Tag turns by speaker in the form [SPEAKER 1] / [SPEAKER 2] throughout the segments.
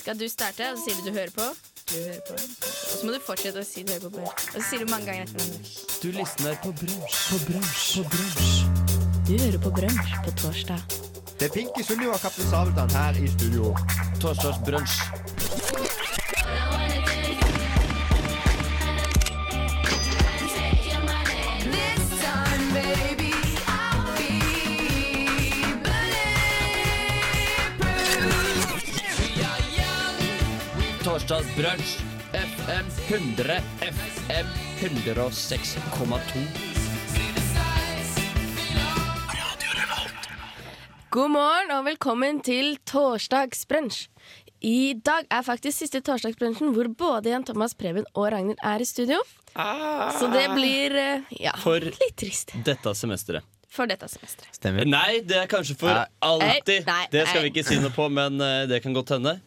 [SPEAKER 1] skal du starte, og så sier du du hører på. Du hører på. Og så må du fortsette å si du hører på. på. Og så sier du mange ganger etter hverandre.
[SPEAKER 2] Du lysner på brunsj, på brunsj, på brunsj.
[SPEAKER 3] Du hører på Brunsj på torsdag.
[SPEAKER 4] Det er Pinky Sunniva og Kaptein Sabeltann her i studio.
[SPEAKER 2] Torsdagsbrunsj. Torsdagsbrunsj. FM 100. FM 106,2.
[SPEAKER 1] God morgen og velkommen til torsdagsbrunsj. I dag er faktisk siste torsdagsbrunsjen hvor både Jan Thomas, Preben og Ragnhild er i studio.
[SPEAKER 4] Ah.
[SPEAKER 1] Så det blir eh, ja,
[SPEAKER 2] For-
[SPEAKER 1] litt trist
[SPEAKER 2] Dette semesteret.
[SPEAKER 1] for dette semesteret.
[SPEAKER 4] Stemmer.
[SPEAKER 2] Nei, det er kanskje for
[SPEAKER 4] Nei.
[SPEAKER 2] alltid.
[SPEAKER 1] Nei, nei,
[SPEAKER 2] det skal vi
[SPEAKER 1] nei.
[SPEAKER 2] ikke si noe på, men eh, det kan godt hende.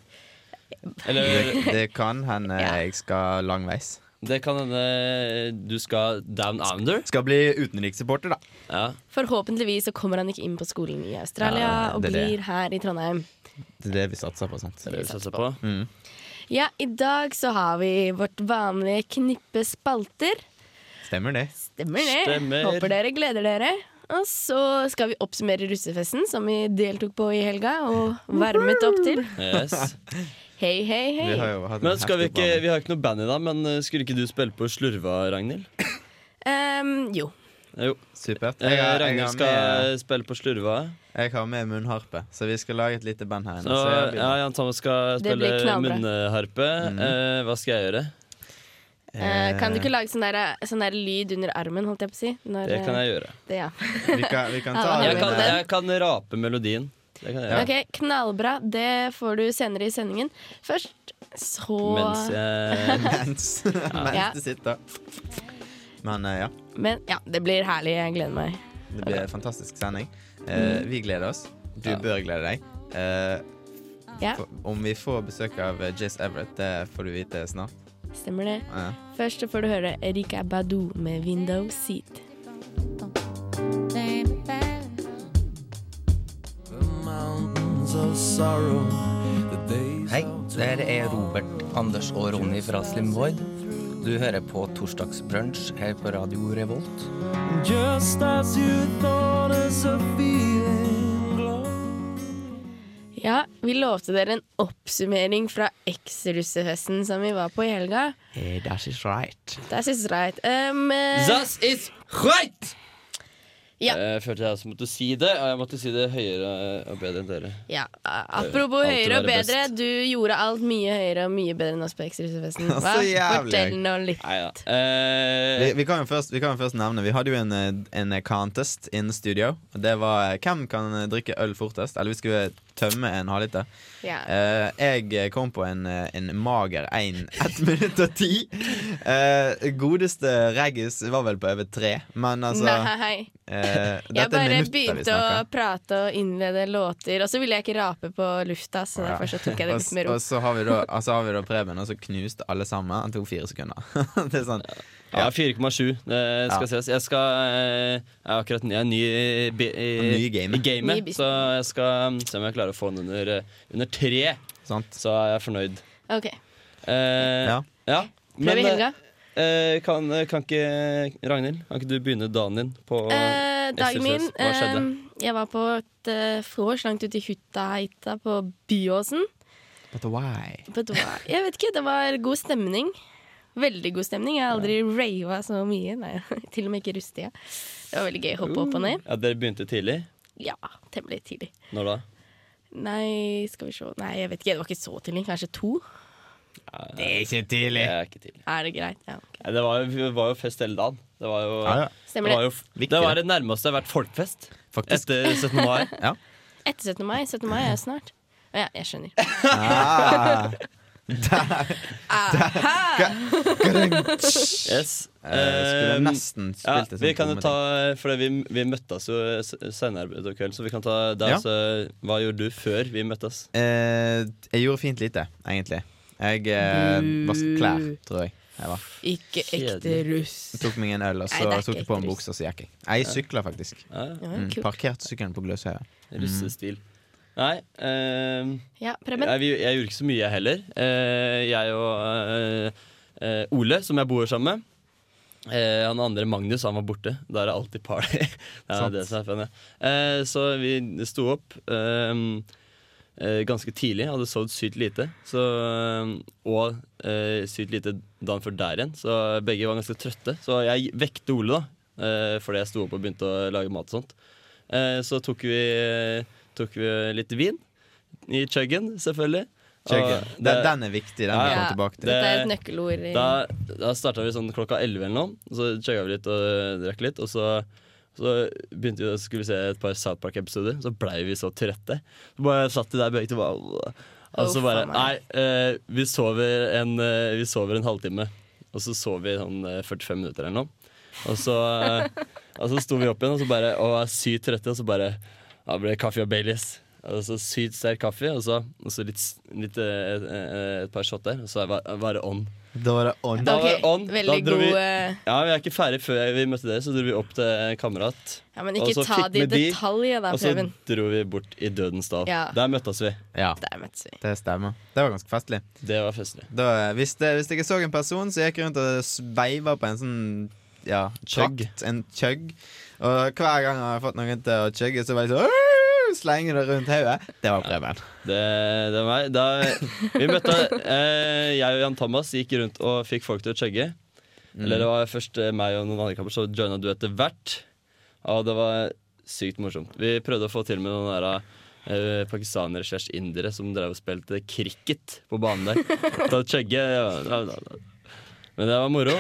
[SPEAKER 2] Eller
[SPEAKER 4] Det, det kan hende
[SPEAKER 1] Ja.
[SPEAKER 4] jeg skal langveis.
[SPEAKER 2] det kan hende eh, du skal down under.
[SPEAKER 4] Skal bli utenrikssupporter, da.
[SPEAKER 2] Ja.
[SPEAKER 1] Forhåpentligvis så kommer han ikke inn på skolen i Australia
[SPEAKER 4] Ja,
[SPEAKER 1] og
[SPEAKER 4] det er det.
[SPEAKER 1] blir her i Trondheim.
[SPEAKER 4] Det er det vi satser på. sant?
[SPEAKER 2] Det vil vi satse på.
[SPEAKER 4] Mm.
[SPEAKER 1] Ja, I dag så har vi vårt vanlige knippe spalter.
[SPEAKER 4] Stemmer det.
[SPEAKER 1] Stemmer det.
[SPEAKER 2] Stemmer.
[SPEAKER 1] Håper dere gleder dere. Og så skal vi oppsummere russefesten som vi deltok på i helga og varmet opp til.
[SPEAKER 2] Yes.
[SPEAKER 1] Hei, hei,
[SPEAKER 4] Vi har
[SPEAKER 1] hei.
[SPEAKER 4] jo hatt en
[SPEAKER 2] Men skal vi
[SPEAKER 4] heftig
[SPEAKER 2] ikke
[SPEAKER 4] oppvarming.
[SPEAKER 2] Vi har ikke noe band i dag, men eh, skulle ikke du spille på Slurva, Ragnhild?
[SPEAKER 1] Ehm, jo.
[SPEAKER 2] Jo.
[SPEAKER 4] Supert.
[SPEAKER 2] Eh,
[SPEAKER 4] Jeg har, jeg,
[SPEAKER 2] Ragnhild
[SPEAKER 4] har
[SPEAKER 2] skal eh,
[SPEAKER 4] med,
[SPEAKER 2] spille på Slurva.
[SPEAKER 4] jeg har med munnharpe, så vi skal lage et lite band her.
[SPEAKER 2] Så,
[SPEAKER 4] inne, så jeg Mm. blir-
[SPEAKER 2] ja, Jan Thomas skal
[SPEAKER 1] Det blir
[SPEAKER 2] spille
[SPEAKER 1] knallbra.
[SPEAKER 2] munnharpe. Eh, hva skal jeg gjøre?
[SPEAKER 1] Eh, kan du
[SPEAKER 4] Eh,
[SPEAKER 1] ikke lage sånn der, sånn der lyd under armen, holdt jeg på å si? Når,
[SPEAKER 2] Det kan
[SPEAKER 1] eh,
[SPEAKER 2] jeg gjøre.
[SPEAKER 1] det, ja.
[SPEAKER 4] vi kan, vi kan ta
[SPEAKER 1] Ja,
[SPEAKER 2] Jeg
[SPEAKER 4] den,
[SPEAKER 2] kan,
[SPEAKER 4] eh,
[SPEAKER 2] jeg kan rape melodien. Det kan jeg gjøre.
[SPEAKER 1] Ok, knallbra. Det får du senere i sendingen. Først så
[SPEAKER 2] Mens jeg
[SPEAKER 4] mens, mens
[SPEAKER 1] Ja.
[SPEAKER 4] du sitter. Men eh, ja,
[SPEAKER 1] Men ja, det blir herlig. Jeg gleder meg.
[SPEAKER 4] det blir en fantastisk sending. Eh, vi gleder oss. Du
[SPEAKER 2] Mm. Ja.
[SPEAKER 4] bør glede deg. Eh,
[SPEAKER 1] Ja,
[SPEAKER 4] for, om vi får besøk av eh, Jace Everett, det får du vite snart.
[SPEAKER 1] stemmer det.
[SPEAKER 4] Eh,
[SPEAKER 1] Først så får du høre Erika Badu med 'Window Seat'.
[SPEAKER 5] Hei, der er Robert, Anders og Ronny fra Slim Void. Du hører på Torsdagsbrunsj her på Radio Revolt.
[SPEAKER 1] Ja, vi lovte dere en oppsummering fra eks-russefesten som vi var på i helga.
[SPEAKER 4] Eh, that is right.
[SPEAKER 1] That's is right. Um, eh,
[SPEAKER 2] Zass is right!
[SPEAKER 1] Ja.
[SPEAKER 2] Eh, Jeg følte jeg også måtte si det, og jeg måtte si det høyere og bedre enn dere.
[SPEAKER 1] ja, a- apropos
[SPEAKER 2] Alltid
[SPEAKER 1] høyere og
[SPEAKER 2] Eh, være
[SPEAKER 1] bedre. Du gjorde alt mye høyere og mye bedre enn oss på eks-russefesten.
[SPEAKER 4] Så
[SPEAKER 1] Hva?
[SPEAKER 4] jævlig.
[SPEAKER 1] Fortell nå litt.
[SPEAKER 2] Nei da.
[SPEAKER 4] Vi,
[SPEAKER 2] Eh,
[SPEAKER 4] vi, kan jo først, vi kan jo først nevne Vi hadde jo en, eh, en contest in studio. Og det var eh, hvem kan eh, drikke øl fortest. Eller vi skulle tømme en halvliter.
[SPEAKER 1] Ja.
[SPEAKER 4] Eh, jeg kom på en, eh, en mager én. Ett minutt og ti. Eh, godeste Reggis var vel på over tre, men altså
[SPEAKER 1] Nei.
[SPEAKER 4] eh, Dette
[SPEAKER 1] Jeg
[SPEAKER 4] er
[SPEAKER 1] bare
[SPEAKER 4] minutter vi
[SPEAKER 1] begynte å
[SPEAKER 4] snakker.
[SPEAKER 1] prate og innlede låter, og så ville jeg ikke rape på lufta, så
[SPEAKER 4] Ja.
[SPEAKER 1] derfor så tok jeg det
[SPEAKER 4] Og,
[SPEAKER 1] litt med ro.
[SPEAKER 4] og så har vi da, og så har vi da Preben, og så knuste alle sammen. Han tok fire sekunder. det er sånn
[SPEAKER 2] ja, 4,7. Det skal ses. Jeg skal eh, Jeg er akkurat ny, jeg er ny i bi- i,
[SPEAKER 4] Ny i gamet.
[SPEAKER 2] i gamet,
[SPEAKER 1] Ny i business.
[SPEAKER 2] så jeg skal mm, se om jeg klarer å få den under, eh, under tre.
[SPEAKER 4] sant.
[SPEAKER 2] Så er jeg fornøyd.
[SPEAKER 1] Ok,
[SPEAKER 2] Eh,
[SPEAKER 4] Ja.
[SPEAKER 2] ja.
[SPEAKER 1] Prøv i
[SPEAKER 2] eh,
[SPEAKER 1] helga.
[SPEAKER 2] eh, kan, kan ikke Ragnhild, kan ikke du begynne dagen din på
[SPEAKER 1] Eh, dagen min
[SPEAKER 2] SSS? Hva skjedde?
[SPEAKER 1] eh, Jeg var på et eh, vors langt ute i Huttaheita på Byåsen.
[SPEAKER 4] But why?
[SPEAKER 1] På et var- Jeg vet ikke, det var god stemning. Veldig god stemning. Jeg har aldri rava så mye. Nei, til og med ikke rustida. Det var veldig gøy. Hoppe opp og ned.
[SPEAKER 2] Ja, Dere begynte tidlig?
[SPEAKER 1] Ja, temmelig tidlig.
[SPEAKER 2] Når da?
[SPEAKER 1] Nei, skal vi se Nei, jeg vet ikke. Det var ikke så tidlig. Kanskje to?
[SPEAKER 4] Det er ikke tidlig.
[SPEAKER 2] Det er ikke tidlig.
[SPEAKER 1] Er det greit? Ja, ok.
[SPEAKER 2] Nei, det var jo, det var jo fest hele dagen. Det var jo,
[SPEAKER 4] Ja, ja.
[SPEAKER 1] Stemmer
[SPEAKER 2] det, var
[SPEAKER 1] det.
[SPEAKER 2] jo
[SPEAKER 4] Viktig,
[SPEAKER 2] det var
[SPEAKER 4] det.
[SPEAKER 2] det nærmeste det har vært folkfest
[SPEAKER 4] Faktisk.
[SPEAKER 2] etter 17. mai.
[SPEAKER 4] Ja.
[SPEAKER 1] Etter 17. mai. 17. mai er jo snart. Å Ja, jeg skjønner.
[SPEAKER 4] Ah,
[SPEAKER 2] Yes.
[SPEAKER 4] eh, skulle
[SPEAKER 2] Eh,
[SPEAKER 4] nesten
[SPEAKER 2] ja,
[SPEAKER 4] spilt det som
[SPEAKER 2] vi kan jo
[SPEAKER 4] komedie.
[SPEAKER 2] ta For vi, vi møttes jo s- senere på kvelden, så vi kan ta det.
[SPEAKER 4] Ja.
[SPEAKER 2] Altså, hva gjorde du før vi møttes?
[SPEAKER 4] Eh, Jeg gjorde fint lite, egentlig. Jeg eh, vasket klær, tror jeg. jeg var.
[SPEAKER 1] Ikke ekte
[SPEAKER 2] Kjedelig.
[SPEAKER 1] russ.
[SPEAKER 4] Tok meg en øl, og
[SPEAKER 1] Nei,
[SPEAKER 4] så
[SPEAKER 1] det er ikke
[SPEAKER 4] tok jeg på en
[SPEAKER 1] ekte
[SPEAKER 4] bukse, og så gikk jeg. Jeg sykla faktisk.
[SPEAKER 2] Ja, ja.
[SPEAKER 1] Ja,
[SPEAKER 4] Mm,
[SPEAKER 1] kult.
[SPEAKER 4] parkerte sykkelen på Gløshaugen. Mm.
[SPEAKER 2] russestil. Nei. eh,
[SPEAKER 1] Ja, Preben.
[SPEAKER 2] Jeg, jeg gjorde ikke så mye, jeg heller. Eh, jeg og eh, eh, Ole, som jeg bor sammen med. eh, han andre, Magnus, han var borte. Da er det alltid party. det er
[SPEAKER 4] Sant.
[SPEAKER 2] det som er fun, ja. Eh, så vi sto opp eh, eh, ganske tidlig. Hadde sovet sykt lite. Så, eh, og eh, sykt lite dagen før der igjen. Så begge var ganske trøtte. Så jeg vekte Ole, da. eh, fordi jeg sto opp og begynte å lage mat og sånt. Eh, så tok vi, eh, tok vi litt vin. I chuggen, selvfølgelig. Og
[SPEAKER 4] Chuggen. Den,
[SPEAKER 2] det-
[SPEAKER 4] den er viktig. Den
[SPEAKER 2] Ja,
[SPEAKER 4] vi
[SPEAKER 2] ja.
[SPEAKER 4] kommer tilbake til.
[SPEAKER 1] Dette er et nøkkelord. i-
[SPEAKER 2] da da starta vi sånn klokka 11 eller noe. og Så chugga vi litt og øh, drakk litt. Og så, så begynte vi å skulle se et par South Park-episoder. Så blei vi så trøtte. Så bare satt de der begge to bare Og så
[SPEAKER 1] Å,
[SPEAKER 2] bare
[SPEAKER 1] faen meg.
[SPEAKER 2] Nei, eh, vi, sover en, eh, vi sover en halvtime. Og så sov vi sånn eh, 45 minutter eller noe. Og så, eh, og så sto vi opp igjen og så bare Og var sykt trøtte, og så bare ja, ble det kaffe og Baileys. Og så Sykt sterk kaffe, og så, og så litt, litt, eh, eh, et par shot der. Og så var bare on.
[SPEAKER 4] Da var det on.
[SPEAKER 2] Da var det
[SPEAKER 1] Ok,
[SPEAKER 2] on. Da
[SPEAKER 1] Veldig
[SPEAKER 2] dro
[SPEAKER 1] god
[SPEAKER 2] vi-
[SPEAKER 1] eh,
[SPEAKER 2] Ja, Vi er ikke ferdig før vi møtte dere, så dro vi opp til en kamerat.
[SPEAKER 1] Ja, Men
[SPEAKER 2] Og
[SPEAKER 1] ikke
[SPEAKER 2] så
[SPEAKER 1] ta
[SPEAKER 2] fikk
[SPEAKER 1] det i
[SPEAKER 2] med de, Altså,
[SPEAKER 1] detalj, da,
[SPEAKER 2] Og så
[SPEAKER 1] Preben.
[SPEAKER 2] dro vi bort i Dødens dal.
[SPEAKER 1] Ja.
[SPEAKER 2] Der møttes vi.
[SPEAKER 4] Ja,
[SPEAKER 1] Der møttes vi.
[SPEAKER 4] det stemmer. Det var ganske festlig.
[SPEAKER 2] Det var festlig.
[SPEAKER 4] Da, hvis, det, hvis jeg så en person som gikk rundt og sveiva på en sånn ja,
[SPEAKER 2] Chugg.
[SPEAKER 4] trakt, en chug, og hver gang jeg har fått noen til å chugge, så var jeg sånn «Åh!» Slenger det rundt hodet. Det var Preben.
[SPEAKER 2] Det, det var meg. Da, vi møtte eh, Jeg og Jan Thomas gikk rundt og fikk folk til å chugge. Eller det var først eh, meg og noen andre kamper, så joina du etter hvert. Og det var sykt morsomt. Vi prøvde å få til med noen der eh, pakistanere slash indere som drev og spilte cricket på banen der. Da chugge ja, ja, ja, ja. Men det var moro.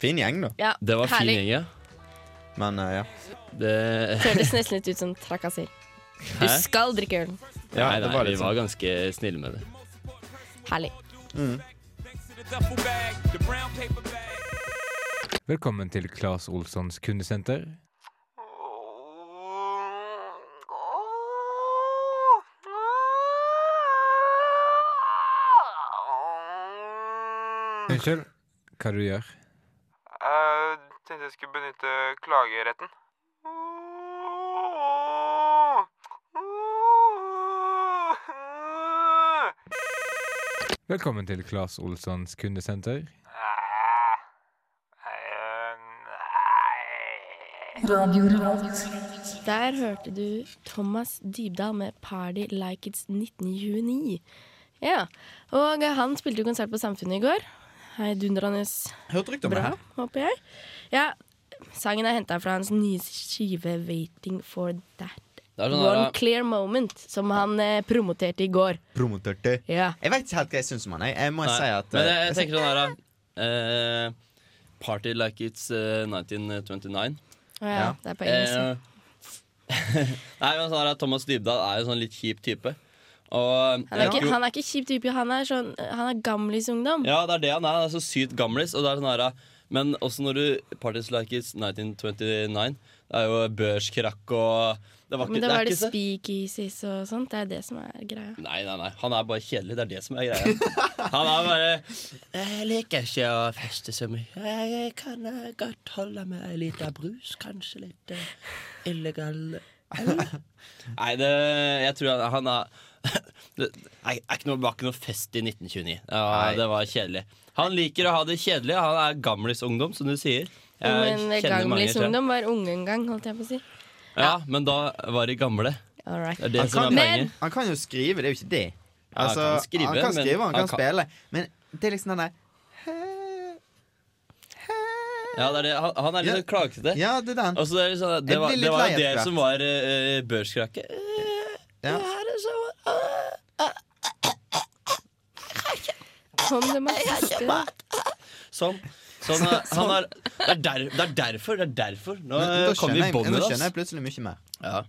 [SPEAKER 4] Fin gjeng, da.
[SPEAKER 1] Ja,
[SPEAKER 2] Det var fin
[SPEAKER 1] herlig.
[SPEAKER 2] gjeng, ja.
[SPEAKER 4] Men eh, ja.
[SPEAKER 2] Det,
[SPEAKER 1] Føles nesten litt ut som trakassering. Du
[SPEAKER 2] Hæ?
[SPEAKER 1] skal drikke ølen.
[SPEAKER 4] Ja,
[SPEAKER 2] nei,
[SPEAKER 4] det
[SPEAKER 2] nei,
[SPEAKER 4] var
[SPEAKER 2] vi
[SPEAKER 4] litt sånn.
[SPEAKER 2] var ganske snille med det.
[SPEAKER 1] Herlig.
[SPEAKER 6] Velkommen til Claes Olssons kundesenter. Unnskyld, hva du gjør?
[SPEAKER 7] Jeg tenkte jeg skulle benytte klageretten.
[SPEAKER 6] Velkommen til Claes Olssons kundesenter.
[SPEAKER 1] Der hørte du Thomas Dybdahl med 'Party Like It's 1929'. Ja, Og han spilte jo konsert på Samfunnet i går. Heidundrende
[SPEAKER 4] sånn. Hørte rykter om det.
[SPEAKER 1] bra, håper jeg. Ja, Sangen er henta fra hans nye skive 'Waiting for That
[SPEAKER 2] Det er sånn der,
[SPEAKER 1] One Clear Moment', som han eh, promoterte i går.
[SPEAKER 4] Promoterte.
[SPEAKER 1] Ja,
[SPEAKER 4] Jeg vet ikke helt hva jeg syns om han. Jeg, jeg må
[SPEAKER 2] nei,
[SPEAKER 4] si at
[SPEAKER 2] Men jeg,
[SPEAKER 4] eh,
[SPEAKER 2] jeg tenker sånn her da, eh, Party like it's eh, 1929.
[SPEAKER 1] ja,
[SPEAKER 4] Ja.
[SPEAKER 1] det er på engelsk.
[SPEAKER 2] Eh, nei, men sånn her, Thomas Dybdahl er jo sånn litt kjip type. Og
[SPEAKER 1] Han er,
[SPEAKER 2] jeg
[SPEAKER 1] ikke,
[SPEAKER 2] tror-
[SPEAKER 1] han er ikke kjip type, han er, sånn, han er gamlisungdom.
[SPEAKER 2] Ja, det er det han er. Han er så sykt gamlis. Og det er sånn her, men også når du Parties like it's 1929. Det er jo børskrakk og Det var ikke,
[SPEAKER 1] Men
[SPEAKER 2] det
[SPEAKER 1] da
[SPEAKER 2] er
[SPEAKER 1] var det
[SPEAKER 2] ikke så-
[SPEAKER 1] speakeasies og sånt. Det er det som er greia.
[SPEAKER 2] Nei, nei, nei. Han er bare kjedelig. Det er det som er greia. Han er bare Jeg liker ikke å feste så mye. Jeg, jeg kan eh, godt holde meg ei lita brus, kanskje litt eh, illegal øl. Nei, det Jeg tror han, han er det er er ikke noe, var ikke noe fest i 1929. Ja,
[SPEAKER 4] Nei.
[SPEAKER 2] det var kjedelig. Han liker å ha det kjedelig. Han er gamlisungdom, som du sier. Jeg
[SPEAKER 1] Men
[SPEAKER 2] kjenner mange, tror jeg.
[SPEAKER 1] gamlisungdom var unge en gang, holdt jeg på å si.
[SPEAKER 2] Ja, men da var de gamle.
[SPEAKER 1] All right.
[SPEAKER 2] Det er det som er
[SPEAKER 4] kan-
[SPEAKER 2] poenget.
[SPEAKER 4] Han kan jo skrive, det er jo ikke det.
[SPEAKER 2] han
[SPEAKER 4] Altså,
[SPEAKER 2] kan
[SPEAKER 4] han,
[SPEAKER 2] skrive,
[SPEAKER 4] kan
[SPEAKER 2] men
[SPEAKER 4] skrive, han,
[SPEAKER 2] han
[SPEAKER 4] kan
[SPEAKER 2] kan-
[SPEAKER 4] spille. Men det er liksom den der
[SPEAKER 2] Ja, det er det. Han, han er litt
[SPEAKER 4] Ja.
[SPEAKER 2] sånn klagete.
[SPEAKER 4] Ja, det er den.
[SPEAKER 2] Altså, det, er sånn, det,
[SPEAKER 4] Jeg
[SPEAKER 2] var,
[SPEAKER 4] blir litt
[SPEAKER 2] det var
[SPEAKER 4] lei
[SPEAKER 2] jo det
[SPEAKER 4] etter
[SPEAKER 2] som var uh, børskrakket. Eh,
[SPEAKER 4] Ja.
[SPEAKER 2] det her er så, eh,
[SPEAKER 1] Kom det meg siste.
[SPEAKER 2] sånn. Sånn, eh, han er, det, er der, det er derfor. Det er derfor. Nå
[SPEAKER 4] Men
[SPEAKER 2] eh,
[SPEAKER 4] Da
[SPEAKER 2] kom vi
[SPEAKER 4] skjønner
[SPEAKER 2] i
[SPEAKER 4] jeg,
[SPEAKER 2] bånd
[SPEAKER 4] nå
[SPEAKER 2] med
[SPEAKER 4] skjønner
[SPEAKER 2] oss.
[SPEAKER 4] jeg plutselig mye mer.
[SPEAKER 2] Ja.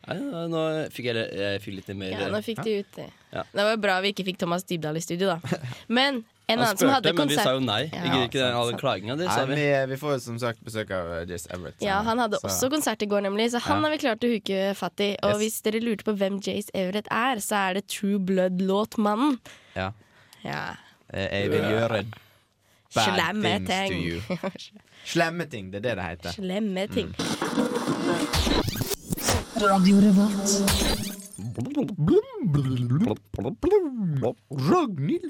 [SPEAKER 2] Nei, nå- nå fikk jeg, jeg fikk litt mer eh,
[SPEAKER 1] Ja, nå fikk de ut det.
[SPEAKER 2] Ja.
[SPEAKER 1] Det var jo bra vi ikke fikk Thomas Dybdahl i studio, da. Men en
[SPEAKER 2] Han
[SPEAKER 1] annen som hadde
[SPEAKER 2] spurte, men vi sa jo
[SPEAKER 1] konsert
[SPEAKER 2] nei.
[SPEAKER 1] Ja,
[SPEAKER 2] Vi gidder ikke den, all den
[SPEAKER 1] sant.
[SPEAKER 2] klaginga di, sa
[SPEAKER 4] Nei,
[SPEAKER 2] vi.
[SPEAKER 4] vi, vi får jo som sagt besøk av eh, Jizz Everett.
[SPEAKER 1] ja,
[SPEAKER 4] senere,
[SPEAKER 1] han hadde
[SPEAKER 4] så-
[SPEAKER 1] også konsert i går, nemlig, så han
[SPEAKER 4] Ja.
[SPEAKER 1] har vi klart å huke fatt i. Og hvis
[SPEAKER 4] Yes.
[SPEAKER 1] dere lurte på hvem Jace Everett er, så er det True Blood-låtmannen.
[SPEAKER 4] Ja.
[SPEAKER 1] Ja.
[SPEAKER 4] Eh, Jeg vil gjøre bad
[SPEAKER 1] Slemme
[SPEAKER 4] things to you.
[SPEAKER 1] ting.
[SPEAKER 4] Slemme ting, det er det det heter.
[SPEAKER 1] Slemme ting.
[SPEAKER 4] Ragnhild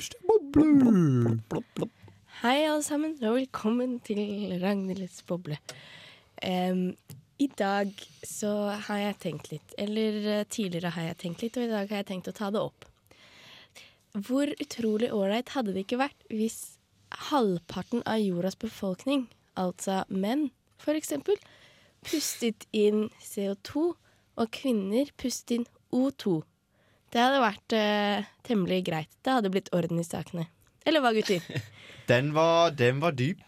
[SPEAKER 4] Steboble.
[SPEAKER 1] Hei, alle sammen, og velkommen til Ragnhilds boble. Em, I dag så har jeg tenkt litt, eller eh, tidligere har jeg tenkt litt, og i dag har jeg tenkt å ta det opp. Hvor utrolig ålreit hadde det ikke vært hvis halvparten av jordas befolkning, altså menn for eksempel, pustet inn CO2, og kvinner pustet inn O2. Det hadde vært eh, temmelig greit. Det hadde blitt orden i sakene. Eller hva, gutter?
[SPEAKER 4] Den var, den var dyp.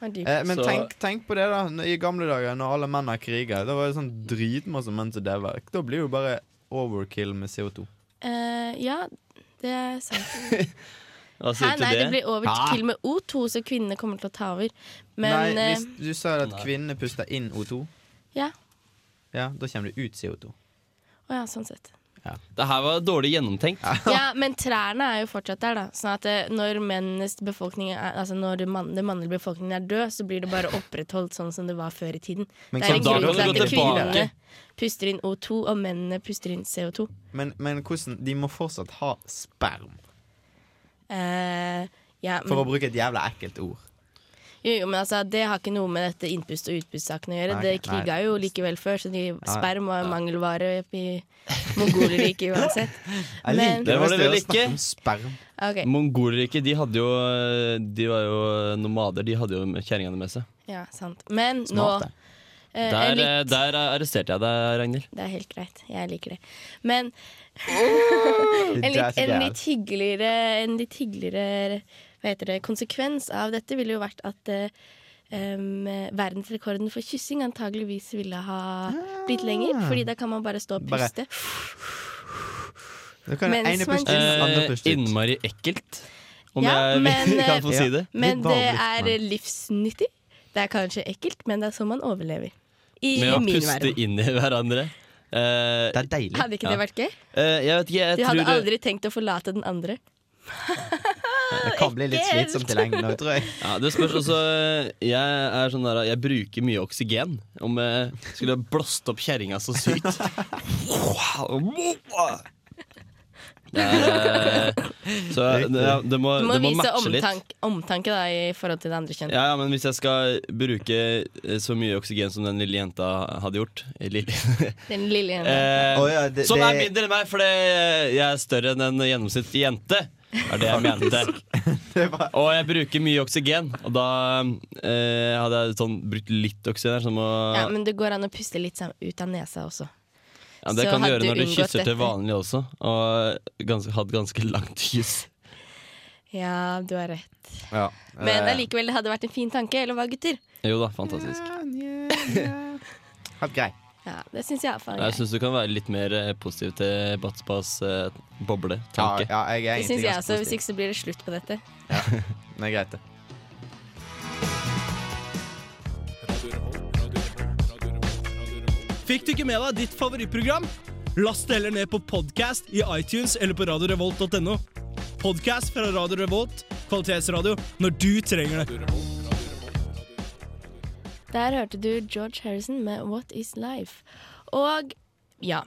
[SPEAKER 1] Hva er dypt?
[SPEAKER 4] Eh, men
[SPEAKER 2] Så-
[SPEAKER 4] tenk, tenk på det, da. når- I gamle dager, når alle menn har kriger, da var det sånn dritmasse menn som daua. Da blir det jo bare overkill med CO2.
[SPEAKER 1] Eh, ja, det er sant.
[SPEAKER 2] Hva
[SPEAKER 1] Nei,
[SPEAKER 2] sier du
[SPEAKER 1] nei, det
[SPEAKER 2] til
[SPEAKER 1] blir
[SPEAKER 2] det?
[SPEAKER 1] overkill med O2, så kvinnene kommer til å ta over. Men
[SPEAKER 4] Nei,
[SPEAKER 1] eh,
[SPEAKER 4] hvis du sa at
[SPEAKER 2] Nei.
[SPEAKER 4] kvinnene puster inn O2,
[SPEAKER 1] ja.
[SPEAKER 4] ja, da kommer det ut CO2.
[SPEAKER 1] Å ja, sånn sett.
[SPEAKER 2] Det her var dårlig gjennomtenkt.
[SPEAKER 1] Ja, men trærne er jo fortsatt der, da. Sånn at eh, når mennenes befolkning er, Altså når man, den mannlige befolkningen er død, så blir det bare opprettholdt sånn som det var før i tiden.
[SPEAKER 4] Men
[SPEAKER 1] det er en
[SPEAKER 2] kan- da
[SPEAKER 1] grunn
[SPEAKER 2] kan
[SPEAKER 1] til
[SPEAKER 2] det gå
[SPEAKER 1] at
[SPEAKER 2] tilbake.
[SPEAKER 1] kvinnene puster inn O2, og mennene puster inn CO2.
[SPEAKER 4] Men, men hvordan De må fortsatt ha sperm,
[SPEAKER 1] Eh, ja,
[SPEAKER 4] for å
[SPEAKER 1] men,
[SPEAKER 4] bruke et jævla ekkelt ord.
[SPEAKER 1] jo, jo, men altså, det har ikke noe med dette innpust- og utpustsakene å gjøre.
[SPEAKER 4] Nei,
[SPEAKER 1] det
[SPEAKER 4] nei.
[SPEAKER 1] kriga jo likevel før, så de
[SPEAKER 4] ja.
[SPEAKER 1] sperm var mangelvare i mongolerriket uansett.
[SPEAKER 4] Jeg
[SPEAKER 1] Men-
[SPEAKER 4] liker
[SPEAKER 2] Det var
[SPEAKER 4] hvis
[SPEAKER 2] det
[SPEAKER 4] dere
[SPEAKER 2] vi liker.
[SPEAKER 4] snakker om sperm.
[SPEAKER 1] Ok,
[SPEAKER 2] Mongolriket, de hadde jo eh, De var jo nomader. De hadde jo kjerringene med seg.
[SPEAKER 1] ja, sant. Men
[SPEAKER 4] Smart, det.
[SPEAKER 1] nå eh,
[SPEAKER 2] Der,
[SPEAKER 1] litt,
[SPEAKER 2] eh, der arresterte jeg deg, Ragnhild.
[SPEAKER 1] Det er helt greit. Jeg liker det. Men en
[SPEAKER 4] That's
[SPEAKER 1] litt, en
[SPEAKER 4] bad.
[SPEAKER 1] litt hyggeligere, en litt hyggeligere hva heter det, konsekvens av dette ville jo vært at eh, em, verdensrekorden for kyssing antageligvis ville ha blitt lenger. Fordi da kan man bare stå og
[SPEAKER 4] Bare-
[SPEAKER 1] puste.
[SPEAKER 4] Da kan den
[SPEAKER 1] Mens
[SPEAKER 4] ene
[SPEAKER 1] man
[SPEAKER 4] puste inn, den andre
[SPEAKER 2] Eh,
[SPEAKER 4] puste ut.
[SPEAKER 2] innmari ekkelt, om
[SPEAKER 1] Ja,
[SPEAKER 2] jeg
[SPEAKER 1] men, eh,
[SPEAKER 2] kan få si det.
[SPEAKER 1] Men
[SPEAKER 4] Litt
[SPEAKER 1] det
[SPEAKER 4] vanlig,
[SPEAKER 1] er
[SPEAKER 4] men-
[SPEAKER 1] livsnyttig. Det er kanskje ekkelt, men det er sånn man overlever. I
[SPEAKER 2] Med å
[SPEAKER 1] min
[SPEAKER 2] puste
[SPEAKER 1] verden.
[SPEAKER 2] inn i hverandre. Eh,
[SPEAKER 4] Det er deilig.
[SPEAKER 1] Hadde ikke det
[SPEAKER 2] Ja.
[SPEAKER 1] vært gøy?
[SPEAKER 2] eh, jeg vet ikke, jeg
[SPEAKER 1] Du hadde
[SPEAKER 2] tror
[SPEAKER 1] aldri tenkt å forlate den andre.
[SPEAKER 4] Det kan bli litt
[SPEAKER 1] ekkelt.
[SPEAKER 4] slitsomt i lengden òg, tror jeg.
[SPEAKER 2] ja, Det spørs også eh, Jeg er sånn der Jeg bruker mye oksygen. Om jeg skulle blåst opp kjerringa så sykt. Det er, eh, så det, det må,
[SPEAKER 1] Du må
[SPEAKER 2] det må
[SPEAKER 1] vise
[SPEAKER 2] matche litt.
[SPEAKER 1] omtanke, omtanke da, i forhold til det andre kjønn.
[SPEAKER 2] Ja, ja, men hvis jeg skal bruke eh, så mye oksygen som den lille jenta hadde gjort eh, lille,
[SPEAKER 1] Den lille jenta.
[SPEAKER 2] eh,
[SPEAKER 4] Å ja, det-
[SPEAKER 2] Som er
[SPEAKER 4] det-
[SPEAKER 2] mindre enn meg, fordi jeg er større enn en gjennomsnittlig jente. Er det jeg mente.
[SPEAKER 4] Det var
[SPEAKER 2] Og jeg bruker mye oksygen, og da eh, hadde jeg sånn brukt litt oksygen. her, Som å,
[SPEAKER 1] Ja,
[SPEAKER 2] ja,
[SPEAKER 1] men det går an å puste litt sam- ut av nesa også.
[SPEAKER 2] det
[SPEAKER 1] så
[SPEAKER 2] kan du
[SPEAKER 1] hadde
[SPEAKER 2] gjøre
[SPEAKER 1] du
[SPEAKER 2] når du
[SPEAKER 1] unngått
[SPEAKER 2] kysser
[SPEAKER 1] dette.
[SPEAKER 2] til vanlig også, og ganske, hatt ganske langt kyss.
[SPEAKER 1] Ja, du har rett.
[SPEAKER 4] ja.
[SPEAKER 2] Eh.
[SPEAKER 1] Men allikevel, det hadde vært en fin tanke, eller hva, gutter?
[SPEAKER 2] Jo da, fantastisk.
[SPEAKER 1] Ah,
[SPEAKER 4] Helt grei.
[SPEAKER 1] Ja, Det syns jeg iallfall.
[SPEAKER 2] Jeg syns du kan være litt mer eh, positiv til Batspas eh, boble.
[SPEAKER 4] Ja,
[SPEAKER 2] Tanke.
[SPEAKER 4] ja, jeg er
[SPEAKER 1] Det syns
[SPEAKER 4] egentlig
[SPEAKER 1] jeg
[SPEAKER 4] ganske
[SPEAKER 1] også. Hvis
[SPEAKER 4] positiv.
[SPEAKER 1] ikke så blir det slutt på dette.
[SPEAKER 4] Det er greit, det.
[SPEAKER 8] Fikk du ikke med deg ditt favorittprogram? Last det heller ned på podcast i iTunes eller på radiorevolt.no. Podcast fra Radio Revolt, kvalitetsradio, når du trenger det.
[SPEAKER 1] Der hørte du George Harrison med 'What Is Life'. Og ja,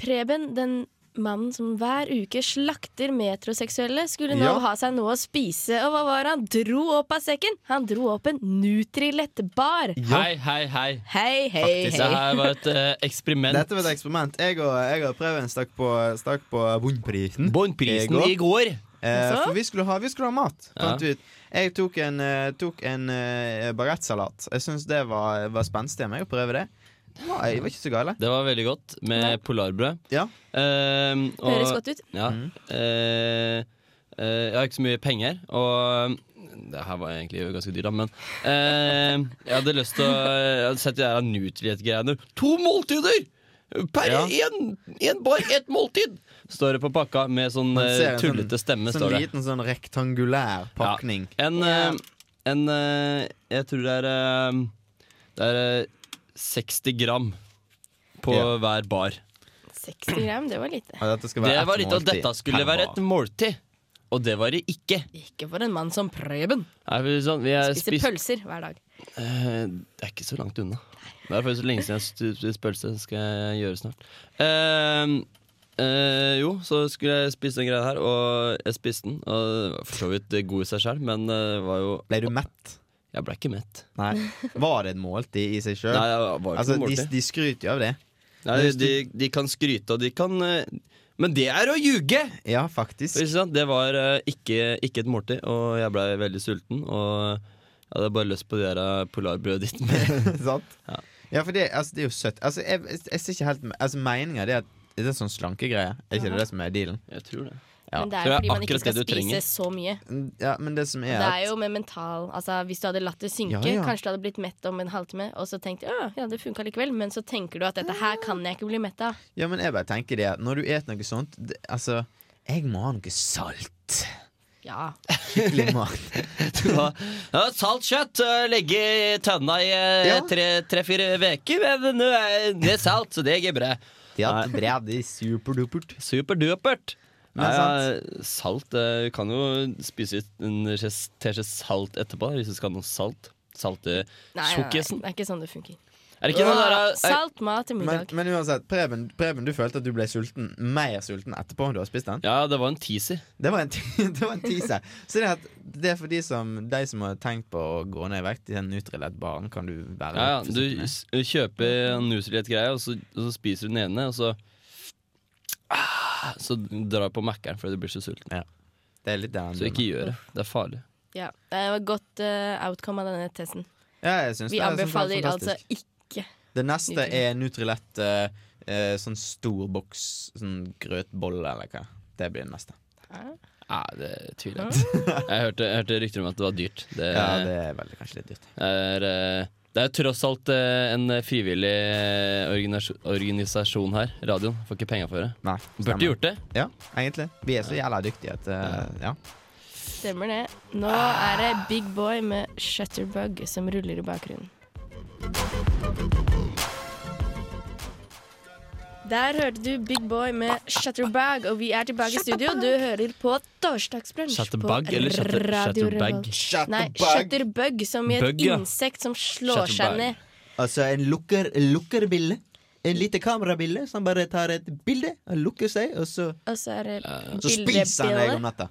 [SPEAKER 1] Preben, den mannen som hver uke slakter metroseksuelle, skulle nå
[SPEAKER 4] Ja.
[SPEAKER 1] ha seg noe å spise. Og hva var det han dro opp av sekken? Han dro opp en Nutrilett-bar.
[SPEAKER 2] Hei, hei, hei.
[SPEAKER 1] Hei, hei,
[SPEAKER 2] Disse
[SPEAKER 1] hei.
[SPEAKER 2] her var et eh, eksperiment.
[SPEAKER 4] Dette var et eksperiment. Jeg og, jeg og Preben stakk på, stakk på Bunnprisen.
[SPEAKER 2] Båndprisen
[SPEAKER 4] Jeg går.
[SPEAKER 2] i går.
[SPEAKER 4] Eh,
[SPEAKER 1] Så?
[SPEAKER 4] for vi skulle ha, vi skulle ha mat.
[SPEAKER 2] Ja.
[SPEAKER 4] Fant vi ut. Jeg tok en, eh, tok en eh, bagettsalat. Jeg syns det var, var spenstig av meg å prøve det. Ja, jeg var ikke så gale.
[SPEAKER 2] Det var veldig godt med polarbrød.
[SPEAKER 4] Ja.
[SPEAKER 2] Ehm, og-
[SPEAKER 1] Høres godt ut.
[SPEAKER 2] Ja.
[SPEAKER 4] Mm.
[SPEAKER 2] Eh, eh, jeg har ikke så mye penger, og um, det her var egentlig ganske dyrt, da, men eh, Jeg hadde lyst til å Jeg hadde sett de der Nutriet-greiene. To måltider! Per
[SPEAKER 4] Ja.
[SPEAKER 2] én! Én bar, ett måltid! Står det på pakka med sånn
[SPEAKER 4] Man
[SPEAKER 2] eh,
[SPEAKER 4] ser en
[SPEAKER 2] tullete stemme.
[SPEAKER 4] Sånn
[SPEAKER 2] står det
[SPEAKER 4] liten sånn rektangulær pakning.
[SPEAKER 2] ja. En, eh, en eh, Jeg tror det er eh, Det er eh, 60 gram på
[SPEAKER 4] Ja.
[SPEAKER 2] hver bar.
[SPEAKER 1] 60 gram, det var lite.
[SPEAKER 4] Og dette skal
[SPEAKER 2] Det
[SPEAKER 4] være ett
[SPEAKER 2] var litt, og
[SPEAKER 4] måltid
[SPEAKER 2] dette
[SPEAKER 4] per
[SPEAKER 2] skulle være
[SPEAKER 4] bar.
[SPEAKER 2] et måltid. Og det var det ikke.
[SPEAKER 1] Ikke for en mann som Preben.
[SPEAKER 2] Er vi sånn, vi er
[SPEAKER 1] Spiser pølser hver dag.
[SPEAKER 2] Eh, Det er ikke så langt unna. Det er faktisk lenge siden jeg har spist pølse. Det skal jeg gjøre snart. Eh, Eh, jo, så skulle jeg spise den greia her, og jeg spiste den. Og den var for så vidt god i seg sjøl, men eh, var jo
[SPEAKER 4] Ble du mett?
[SPEAKER 2] Jeg ble ikke mett.
[SPEAKER 4] Nei. Var det et måltid i seg sjøl?
[SPEAKER 2] Nei, jeg var ikke
[SPEAKER 4] Altså,
[SPEAKER 2] noe
[SPEAKER 4] de,
[SPEAKER 2] måltid.
[SPEAKER 4] de skryter jo av det.
[SPEAKER 2] Nei, de, de kan skryte, og de kan eh, Men det er å ljuge!
[SPEAKER 4] Ja, faktisk.
[SPEAKER 2] Ikke sant? Det var eh, ikke, ikke et måltid, og jeg blei veldig sulten. Og jeg hadde bare lyst på det der eh, polarbrødet ditt. Med.
[SPEAKER 4] Sant?
[SPEAKER 2] Ja.
[SPEAKER 4] Ja, for det, altså, det er jo søtt. Altså, jeg, jeg, jeg ser ikke helt Altså, meninga er at det er sånn slankegreie. Er ikke det det som er dealen?
[SPEAKER 2] Jeg tror det.
[SPEAKER 4] Ja.
[SPEAKER 1] Men det
[SPEAKER 2] Så
[SPEAKER 1] er
[SPEAKER 2] det er
[SPEAKER 1] fordi man ikke
[SPEAKER 2] akkurat
[SPEAKER 1] skal
[SPEAKER 2] det du
[SPEAKER 1] spise
[SPEAKER 2] trenger.
[SPEAKER 1] så mye.
[SPEAKER 4] Ja, men det som er,
[SPEAKER 1] Det er
[SPEAKER 4] at
[SPEAKER 1] jo med mental Altså Hvis du hadde latt det synke,
[SPEAKER 4] Ja, ja.
[SPEAKER 1] kanskje du hadde blitt mett om en halvtime, og så tenkt ja, ja, det funka likevel, men så tenker du at dette her kan jeg ikke bli mett av.
[SPEAKER 4] Ja, men jeg bare tenker det at når du et noe sånt det, Altså, jeg må ha noe salt.
[SPEAKER 1] Ja.
[SPEAKER 4] Skikkelig mat.
[SPEAKER 2] Ja, ja, salt kjøtt eh, ligge i tønna i eh,
[SPEAKER 4] Ja.
[SPEAKER 2] tre-fire uker, men nå er det salt, så det går bra.
[SPEAKER 4] De har hatt brev, de er superdupert.
[SPEAKER 2] Superdupert.
[SPEAKER 4] Men
[SPEAKER 2] Nei, ja, salt eh, Du kan jo spise ut en skje- teskje salt etterpå hvis du skal ha noe salt. Salte
[SPEAKER 1] Nei, nei, nei,
[SPEAKER 2] tjukkisen.
[SPEAKER 1] det er ikke sånn det funker.
[SPEAKER 2] Er det ikke noe der eh,
[SPEAKER 1] Ah,
[SPEAKER 2] er,
[SPEAKER 1] Salt mat til
[SPEAKER 4] Men,
[SPEAKER 1] middag.
[SPEAKER 4] men uansett, Preben, Preben, du følte at du ble sulten mer sulten etterpå du har spist den?
[SPEAKER 2] Ja, det var en teaser.
[SPEAKER 4] Det var en, ti- det var en teaser. Så det, er at, det er for de som, de som har tenkt på å gå ned i vekt i den Nutrilett-baren, kan du være
[SPEAKER 2] Ja, ja,
[SPEAKER 4] litt
[SPEAKER 2] du
[SPEAKER 4] forsiktig med.
[SPEAKER 2] s- eh, kjøper en Nutrilett-greie, og, så- og så spiser du den ene, og så ah, Så drar du på Mækkern fordi du blir så sulten.
[SPEAKER 4] Det er litt der han
[SPEAKER 2] Så ikke gjør det. Det er farlig.
[SPEAKER 1] Ja. Det var et godt eh, outcome av denne testen.
[SPEAKER 4] ja, jeg synes
[SPEAKER 1] Vi
[SPEAKER 4] det, jeg synes det
[SPEAKER 1] anbefaler
[SPEAKER 4] var
[SPEAKER 1] altså
[SPEAKER 4] fantastisk.
[SPEAKER 1] ikke
[SPEAKER 4] Det neste
[SPEAKER 1] Nutrilett.
[SPEAKER 4] er Nutrilett eh, eh, sånn stor boks sånn grøtbolle eller hva. Det blir det neste.
[SPEAKER 2] Nei, det tviler jeg på. Jeg hørte, jeg hørte rykter om at det var dyrt. Det,
[SPEAKER 4] Ja, det er veldig, kanskje litt dyrt.
[SPEAKER 2] er eh, Det er jo tross alt eh, en frivillig eh, organisa- organisasjon her. Radioen får ikke penger for det.
[SPEAKER 4] Nei,
[SPEAKER 2] Burde gjort det.
[SPEAKER 4] Ja, egentlig. Vi er så jævla dyktige at eh, ja.
[SPEAKER 1] Stemmer det. Nå er det Big Boy med Shutterbug som ruller i bakgrunnen. Der hørte du Big Boy med Shutterbug, og vi er tilbake i studio. Du hører på Torsdagsbrunsj
[SPEAKER 2] Shutterbug
[SPEAKER 1] på
[SPEAKER 2] eller shutter,
[SPEAKER 1] Radio
[SPEAKER 2] shutterbug?
[SPEAKER 1] Revolt. Nei, Shutterbug, som i et
[SPEAKER 2] Bug, ja.
[SPEAKER 1] insekt som slår
[SPEAKER 2] Shutterbug.
[SPEAKER 1] seg ned.
[SPEAKER 4] Altså en lukker, lukkerbille. En lite kamerabille som bare tar et bilde og lukker seg, og så,
[SPEAKER 1] Og så er det
[SPEAKER 4] så spiser han deg om
[SPEAKER 1] bildebjelle.
[SPEAKER 4] natta.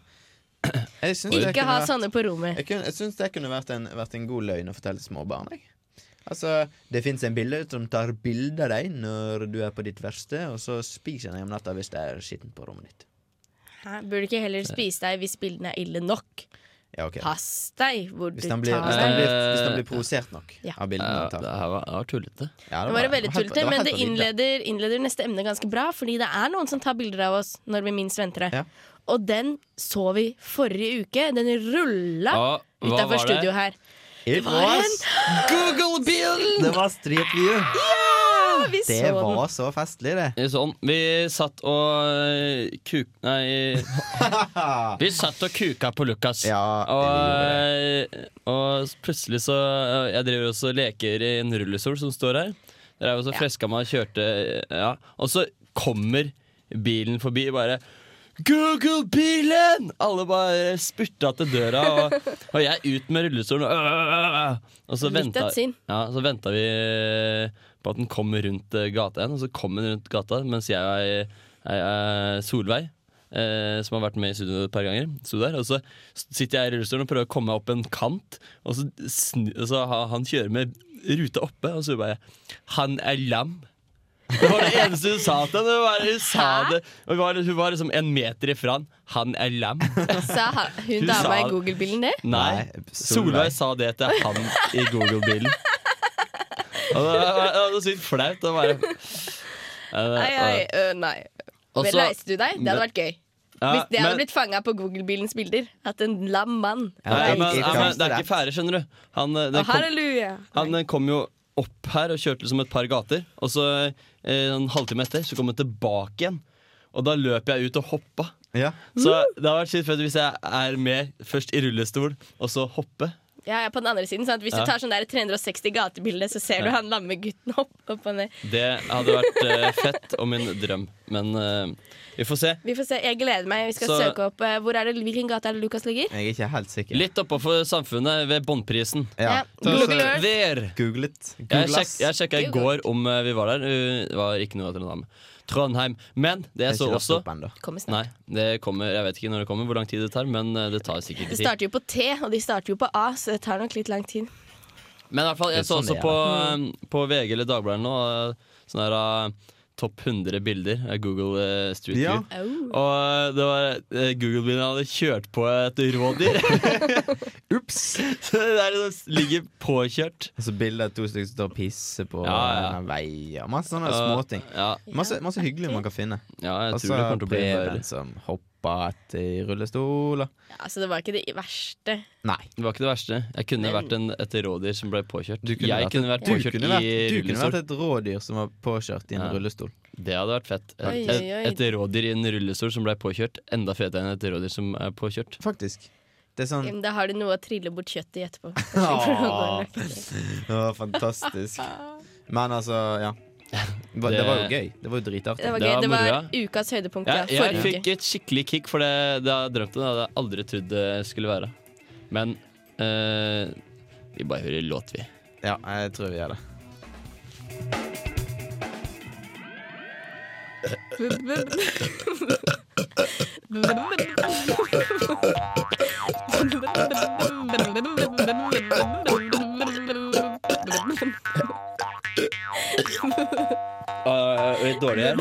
[SPEAKER 4] Jeg syns det
[SPEAKER 1] Ikke
[SPEAKER 4] kunne
[SPEAKER 1] ha
[SPEAKER 4] vært-
[SPEAKER 1] sånne på rommet.
[SPEAKER 4] Jeg, kunne, jeg syns det kunne vært en, vært en god løgn å fortelle små barn. Jeg. Altså, Det fins en bilde som tar bilde av deg når du er på ditt verste, og så spiser han deg om natta hvis det er skitten på rommet ditt.
[SPEAKER 1] Hæ? Burde ikke heller spise deg hvis bildene er ille nok.
[SPEAKER 4] Ja, ok
[SPEAKER 1] Pass deg hvor du
[SPEAKER 4] Hvis han blir,
[SPEAKER 1] tar
[SPEAKER 4] hvis
[SPEAKER 1] deg.
[SPEAKER 4] han blir, hvis han blir provosert nok
[SPEAKER 1] Ja.
[SPEAKER 4] av bildene
[SPEAKER 2] Ja,
[SPEAKER 4] han
[SPEAKER 2] det
[SPEAKER 4] tar.
[SPEAKER 2] her var, det var tullete.
[SPEAKER 4] Ja,
[SPEAKER 1] Det var jo veldig
[SPEAKER 4] helt-
[SPEAKER 1] tullete,
[SPEAKER 4] var
[SPEAKER 1] men
[SPEAKER 4] helt
[SPEAKER 1] det
[SPEAKER 4] på vidda.
[SPEAKER 1] innleder, innleder neste emne ganske bra, fordi det er noen som tar bilder av oss når vi minst venter det.
[SPEAKER 4] Ja.
[SPEAKER 1] Og den så vi forrige uke. Den rulla
[SPEAKER 2] Ah, hva var
[SPEAKER 1] utafor
[SPEAKER 2] det?
[SPEAKER 1] studio her.
[SPEAKER 4] It
[SPEAKER 1] var
[SPEAKER 4] was Google-bilen! Det var Street View.
[SPEAKER 1] Ja, Ah, vi så
[SPEAKER 4] Det
[SPEAKER 1] den.
[SPEAKER 4] var så festlig, det.
[SPEAKER 2] Sånn. Vi satt og eh, kuk... Nei Vi satt og kuka på Lukas.
[SPEAKER 4] Ja,
[SPEAKER 2] og, og plutselig så eh, Jeg driver også og leker i en rullestol som står her. Der er jo så freska meg og kjørte eh, ja. Og så kommer bilen forbi bare Google-bilen! Alle bare spurta til døra, og, og jeg ut med rullestolen. øh, øh, øh, øh. Og så
[SPEAKER 1] Litt
[SPEAKER 2] venta,
[SPEAKER 1] av et syn.
[SPEAKER 2] ja, så venta vi eh, på at den kom rundt eh, gata igjen, og så kom den rundt gata mens jeg er Solveig. Eh, som har vært med i studio et par ganger. Sto der, og så sitter jeg i rullestolen og prøver å komme meg opp en kant, og så, snu, og så ha- han kjører med ruta oppe, og så bare 'Han er lam'. Det var det eneste hun sa til ham. Hun, var- hun sa det. Hun var, hun var liksom en meter ifra han. Han er lam.
[SPEAKER 1] Sa ha- hun
[SPEAKER 2] Hun
[SPEAKER 1] dama
[SPEAKER 2] sa
[SPEAKER 1] i
[SPEAKER 2] det.
[SPEAKER 1] Google-bilen det?
[SPEAKER 2] Nei,
[SPEAKER 4] Nei,
[SPEAKER 2] Solveig
[SPEAKER 4] Solveig.
[SPEAKER 2] sa det til han i Google-bilen. Og det var- det var så sykt flaut å bare
[SPEAKER 1] Ai, ai, øh, nei.
[SPEAKER 2] Eh, Og
[SPEAKER 1] Vel,
[SPEAKER 2] så-
[SPEAKER 1] reiste du deg? Det hadde vært gøy.
[SPEAKER 2] Ja,
[SPEAKER 1] Hvis det hadde
[SPEAKER 2] men-
[SPEAKER 1] blitt fanga på Google-bilens bilder. At en lam mann
[SPEAKER 2] Nei, men, ja,
[SPEAKER 4] Ikke
[SPEAKER 2] men det er
[SPEAKER 4] rett.
[SPEAKER 2] ikke ferdig, skjønner du. Han, eh,
[SPEAKER 1] Å,
[SPEAKER 2] den kom,
[SPEAKER 1] Halleluja!
[SPEAKER 2] han eh, kom jo opp her og kjørte liksom et par gater, og så eh, en halvtime etter så kom han tilbake igjen. Og da løp jeg ut og hoppa.
[SPEAKER 4] Ja.
[SPEAKER 2] Så det har vært sykt fett hvis jeg er med først i rullestol, og så hoppe.
[SPEAKER 1] Ja, ja, på den andre siden, sant? Hvis
[SPEAKER 2] Ja.
[SPEAKER 1] du tar sånn der 360 gatebilde, så ser du han lamme gutten opp, opp og ned.
[SPEAKER 2] Det hadde vært eh, fett og min drøm. Men eh, vi får se.
[SPEAKER 1] Vi får se. Jeg gleder meg. Vi skal
[SPEAKER 2] Så-
[SPEAKER 1] søke opp eh, hvor er det, Hvilken gate er det Lukas ligger?
[SPEAKER 4] Jeg er ikke helt sikker.
[SPEAKER 2] Litt oppafor samfunnet ved båndprisen.
[SPEAKER 1] Ja.
[SPEAKER 4] Ta og så
[SPEAKER 1] Google Earth.
[SPEAKER 2] Der!
[SPEAKER 4] Googlet.
[SPEAKER 2] Jeg,
[SPEAKER 4] Googlas.
[SPEAKER 2] sjek, jeg sjekka i
[SPEAKER 1] Google.
[SPEAKER 2] går om eh, vi var der. Uh, Det var ikke noe av Trondheim. Trondheim. Men det jeg så også
[SPEAKER 4] ennå.
[SPEAKER 1] Kommer snart.
[SPEAKER 2] Nei, det kommer, jeg vet ikke når det kommer, hvor lang tid det tar, men eh, det tar
[SPEAKER 1] Det
[SPEAKER 2] sikkert ikke tid.
[SPEAKER 1] starter jo på T, og de starter jo på A, så det tar nok litt lang tid.
[SPEAKER 2] Men i hvert fall, jeg
[SPEAKER 4] Det er
[SPEAKER 2] så
[SPEAKER 4] sånn
[SPEAKER 2] også
[SPEAKER 4] det er.
[SPEAKER 2] på, eh, på VG eller Dagbladet nå, eh, sånn her eh, topp 100 bilder, eh, Google eh, Street View.
[SPEAKER 4] Ja.
[SPEAKER 1] Au.
[SPEAKER 2] Og det var eh, Google-bilen hadde kjørt på et rådyr.
[SPEAKER 4] Ups!
[SPEAKER 2] Så det er liksom, ligger påkjørt.
[SPEAKER 4] Og så Altså, bilder av to stykker som står og pisser på
[SPEAKER 2] Ja, ja.
[SPEAKER 4] en vei. Og masse sånne småting.
[SPEAKER 2] Ja,
[SPEAKER 4] Masse, masse hyggelig man kan finne.
[SPEAKER 2] ja jeg
[SPEAKER 4] Og så
[SPEAKER 2] tror det kommer til å bli
[SPEAKER 4] Preben
[SPEAKER 2] verre.
[SPEAKER 4] som hopper etter rullestol og
[SPEAKER 1] Ja, så det var ikke det verste.
[SPEAKER 4] Nei.
[SPEAKER 2] Det var ikke det verste. Jeg kunne vært en, et rådyr som ble påkjørt.
[SPEAKER 4] Du kunne
[SPEAKER 2] jeg
[SPEAKER 4] vært-
[SPEAKER 2] kunne vært
[SPEAKER 4] Du
[SPEAKER 2] påkjørt
[SPEAKER 4] kunne vært,
[SPEAKER 2] i
[SPEAKER 4] du kunne
[SPEAKER 2] rullestol.
[SPEAKER 4] vært et rådyr som var påkjørt i en
[SPEAKER 2] Ja.
[SPEAKER 4] rullestol.
[SPEAKER 2] Det hadde vært fett. Et,
[SPEAKER 1] Oi,
[SPEAKER 2] et,
[SPEAKER 1] oi, oi.
[SPEAKER 2] et rådyr i en rullestol som ble påkjørt. Enda fetere enn et rådyr som er påkjørt.
[SPEAKER 4] Faktisk. Det
[SPEAKER 2] Mm.
[SPEAKER 4] er sånn
[SPEAKER 1] Men Da har du noe å trille bort kjøttet i etterpå.
[SPEAKER 4] Åh. Å, fantastisk. Men altså, ja. Det, var- det var jo gøy. Det var jo
[SPEAKER 1] Det
[SPEAKER 4] dritartig.
[SPEAKER 1] var
[SPEAKER 2] Det
[SPEAKER 1] gøy.
[SPEAKER 2] var
[SPEAKER 1] Det
[SPEAKER 2] moro,
[SPEAKER 1] var ukas høydepunkt. Ja,
[SPEAKER 2] Jeg, jeg
[SPEAKER 1] forrige uke.
[SPEAKER 2] fikk et skikkelig kick for det, det jeg drømte om. Det hadde jeg aldri trodd det skulle være. Men eh, vi bare hører låt, vi.
[SPEAKER 4] Ja, jeg tror vi gjør det.
[SPEAKER 2] Ah, Uh, litt dårlig her.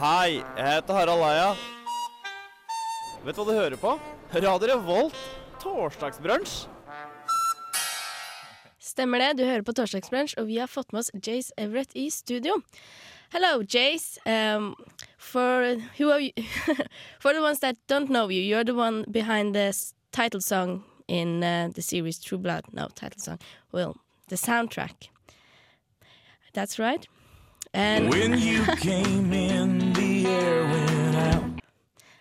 [SPEAKER 9] Hei, jeg heter Harald Eia. Vet du hva du hører på? Radio Revolt. Torsdagsbrunsj.
[SPEAKER 1] Stemmer det. Du hører på Torsdagsbrunsj, og vi har fått med oss Jace Everett i studio. Hello, Jace. Um, for who are you? for the ones that don't know you, you're the one behind the s- title song in uh, the series True Blood. No, title song. Well, the soundtrack. That's right. And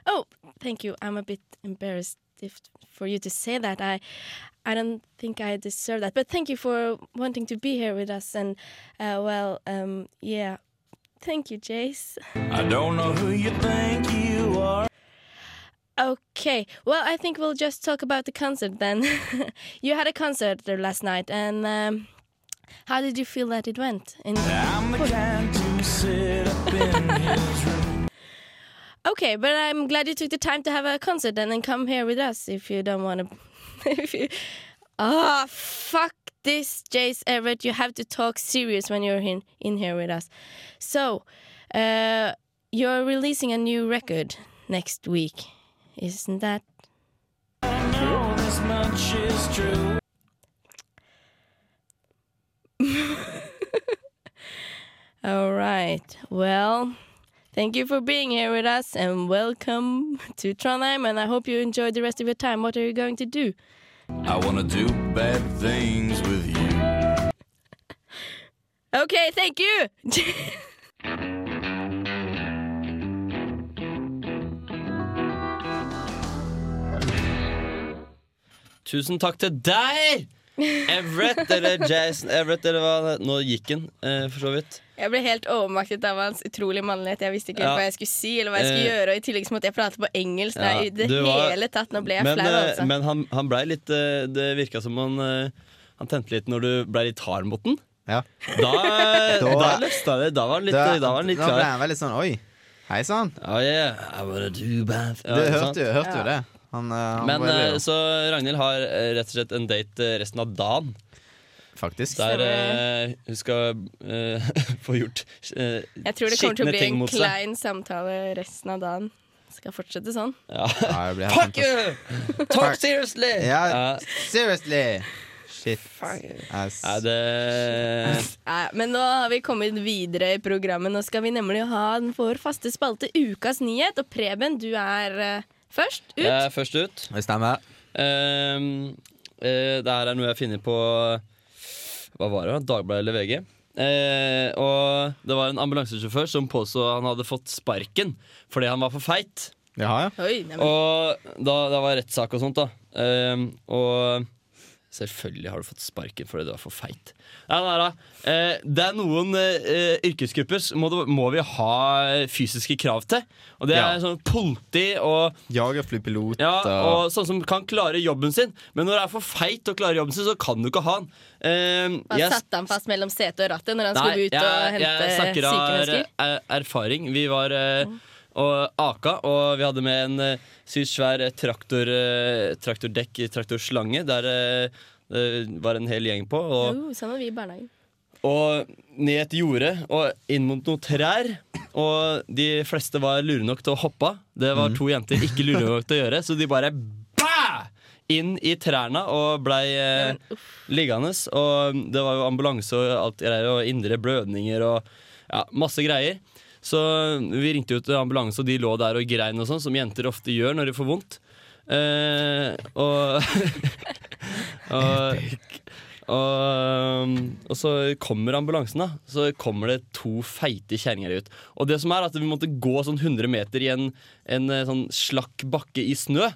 [SPEAKER 1] Oh, thank you. I'm a bit embarrassed if, for you to say that. I, I don't think I deserve that. But thank you for wanting to be here with us. And uh, well, um, yeah, thank you, Jace.
[SPEAKER 9] I don't know who you think you are.
[SPEAKER 1] Okay, well, I think we'll just talk about the concert then. you had a concert there last night, and um, how did you feel that it went? In-
[SPEAKER 9] I'm the kind to sit up in his room.
[SPEAKER 1] okay, but I'm glad you took the time to have a concert and then come here with us if you don't want to. if you, ah, fuck this, Jace Everett. You have to talk serious when you're in in here with us. So, uh, you're releasing a new record next week, isn't that?
[SPEAKER 9] Know this much is true.
[SPEAKER 1] All right. Well, thank you for being here with us and welcome to Trondheim. And I hope you enjoy the rest of your time. What are you going to do?
[SPEAKER 9] I wanna do bad things with you.
[SPEAKER 1] Okay, thank you.
[SPEAKER 2] Tusen takk til deg! Everett, eller Jason Everett, eller hva det- Nå gikk han, eh, for så vidt.
[SPEAKER 1] Jeg ble helt overmaktet av hans utrolige mannlighet. Jeg visste ikke helt
[SPEAKER 2] Ja.
[SPEAKER 1] hva jeg skulle si eller hva jeg skulle
[SPEAKER 2] Eh.
[SPEAKER 1] gjøre. Og i tillegg så måtte jeg prate på engelsk.
[SPEAKER 2] Ja,
[SPEAKER 1] Nei, i det
[SPEAKER 2] du var-
[SPEAKER 1] hele tatt. Nå ble jeg
[SPEAKER 2] Men,
[SPEAKER 1] flau,
[SPEAKER 2] eh,
[SPEAKER 1] altså.
[SPEAKER 2] men han, han blei litt eh, Det virka som han, eh, han tente litt når du blei litt hard mot den.
[SPEAKER 4] Ja.
[SPEAKER 2] Da, eh, da,
[SPEAKER 4] Da-
[SPEAKER 2] løsna det. Da var han litt,
[SPEAKER 4] Da,
[SPEAKER 2] da var han litt
[SPEAKER 4] da ble
[SPEAKER 2] klar.
[SPEAKER 4] han veldig sånn Oi, hei sann.
[SPEAKER 2] Oh, yeah. I wanna do bad
[SPEAKER 4] Du hørte jo, hørte jo det. Han, eh, han
[SPEAKER 2] Men
[SPEAKER 4] var jo-
[SPEAKER 2] eh, så Ragnhild har eh, rett og slett en date eh, resten av dagen.
[SPEAKER 4] Faktisk.
[SPEAKER 2] Der eh, hun skal eh, få gjort uh,
[SPEAKER 1] jeg tror det kommer til å bli
[SPEAKER 2] ting
[SPEAKER 1] en
[SPEAKER 2] mot seg.
[SPEAKER 1] klein samtale resten av dagen. Skal fortsette sånn.
[SPEAKER 2] Ja.
[SPEAKER 4] Ja, det blir helt
[SPEAKER 2] Fuck
[SPEAKER 4] fantastisk.
[SPEAKER 2] you! Talk seriously!
[SPEAKER 4] Ja.
[SPEAKER 2] Ja.
[SPEAKER 4] Seriously! Shit. Ass.
[SPEAKER 2] Nei, det
[SPEAKER 1] Nei, men nå har vi kommet videre i programmet. Nå skal vi nemlig ha den vår faste spalte Ukas nyhet. Og Preben, du er eh, først ut.
[SPEAKER 2] Jeg er først ut.
[SPEAKER 4] Det stemmer.
[SPEAKER 2] Ehm, eh, det her er noe jeg finner på Hva var det? Dagbladet eller VG? Eh, og det var en ambulansesjåfør som påstod han hadde fått sparken fordi han var for feit.
[SPEAKER 4] Jaha, ja.
[SPEAKER 1] Oi, nei, men,
[SPEAKER 2] Og da, da var rettssak og sånt, da. Ehm, og Selvfølgelig har du fått sparken fordi du er for feit. Nei, nei, nei. Eh, det er noen eh, yrkesgrupper som må, det- må vi ha fysiske krav til. Og det er
[SPEAKER 4] Ja.
[SPEAKER 2] sånn politi og,
[SPEAKER 4] Jagerflypilot
[SPEAKER 2] ja,
[SPEAKER 4] og
[SPEAKER 2] og sånne som kan klare jobben sin. Men når du er for feit og klarer jobben sin, så kan du ikke ha den. Eh,
[SPEAKER 1] Han
[SPEAKER 2] jeg-
[SPEAKER 1] satte han fast mellom sete og rattet når han
[SPEAKER 2] Nei,
[SPEAKER 1] skulle ut og hente
[SPEAKER 2] jeg
[SPEAKER 1] syke
[SPEAKER 2] snakker av
[SPEAKER 1] mennesker.
[SPEAKER 2] er- erfaring. Vi var eh, og aka, og vi hadde med en eh, sykt svær eh, traktor, eh, traktordekk, traktorslange, der eh, det var en hel gjeng på. Og,
[SPEAKER 1] Jo, sånn var vi i barnehagen.
[SPEAKER 2] og ned et jorde og inn mot noen trær. Og de fleste var lure nok til å hoppe av. Det var to jenter ikke lure nok til å gjøre, så de bare bæ! Inn i trærne og blei eh, liggende. Og det var jo ambulanse og alt greier, og indre blødninger og ja, masse greier. Så vi ringte jo til ambulanse, og de lå der og grein og sånn, som jenter ofte gjør når de får vondt. Eh, og, og og, um, og så kommer ambulansen, da. Så kommer det to feite kjerringer ut. Og det som er at vi måtte gå sånn 100 meter i en, en eh, sånn slakk bakke i snø.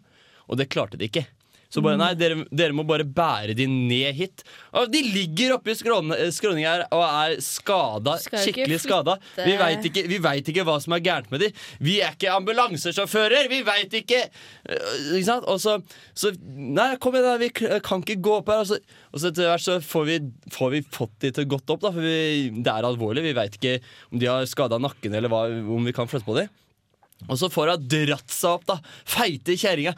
[SPEAKER 2] Og det klarte de ikke. Så
[SPEAKER 1] Mm.
[SPEAKER 2] bare nei, dere, dere må bare bære de ned hit. Og de ligger oppi skråninga eh, her og er skada.
[SPEAKER 1] Skal jo ikke
[SPEAKER 2] Skikkelig skada.
[SPEAKER 1] flytte-
[SPEAKER 2] Vi veit ikke, vi vet ikke hva som er gærent med de. Vi er ikke ambulansesjåfører! Vi veit ikke Øh, Ikke sant? Og så, så Nei, kom igjen, da. Vi k- kan ikke gå opp her. Og så, og så etter hvert så får vi, får vi fått de til godt opp, da. For vi, det er alvorlig. Vi veit ikke om de har skada nakken, eller hva, om vi kan flytte på dem. Og så får hun dratt seg opp, da. Feite kjerringa.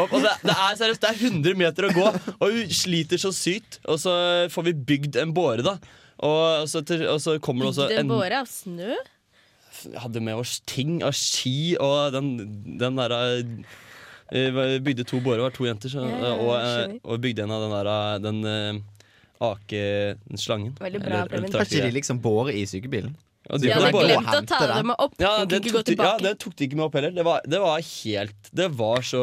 [SPEAKER 2] Opp, Og det, det er seriøst, det er 100 meter å gå, og hun sliter så sykt. Og så får vi bygd en båre, da. Og så, til, og så kommer det også
[SPEAKER 1] Det
[SPEAKER 2] en
[SPEAKER 1] båre av snø?
[SPEAKER 2] hadde med oss ting av ski og den, den der eh, vi Bygde to bårer, var to jenter, så,
[SPEAKER 1] Ja, ja, ja,
[SPEAKER 2] og, eh,
[SPEAKER 1] skjønner.
[SPEAKER 2] og bygde en av den der eh, Den eh, ake... Den slangen.
[SPEAKER 1] Veldig bra, Preben.
[SPEAKER 4] Har ikke de
[SPEAKER 2] traktor-
[SPEAKER 4] liksom båret i sykebilen?
[SPEAKER 2] Ja, de
[SPEAKER 1] De
[SPEAKER 2] hadde
[SPEAKER 4] Ja,
[SPEAKER 1] hadde
[SPEAKER 4] det er
[SPEAKER 2] båret.
[SPEAKER 1] glemt å
[SPEAKER 4] hente
[SPEAKER 1] ta
[SPEAKER 4] den.
[SPEAKER 1] dem opp.
[SPEAKER 2] ja,
[SPEAKER 1] Ja,
[SPEAKER 2] den
[SPEAKER 1] ikke gå
[SPEAKER 2] tok, de, ja,
[SPEAKER 1] tilbake.
[SPEAKER 2] den tok de ikke med opp heller. Det var, det var helt Det var så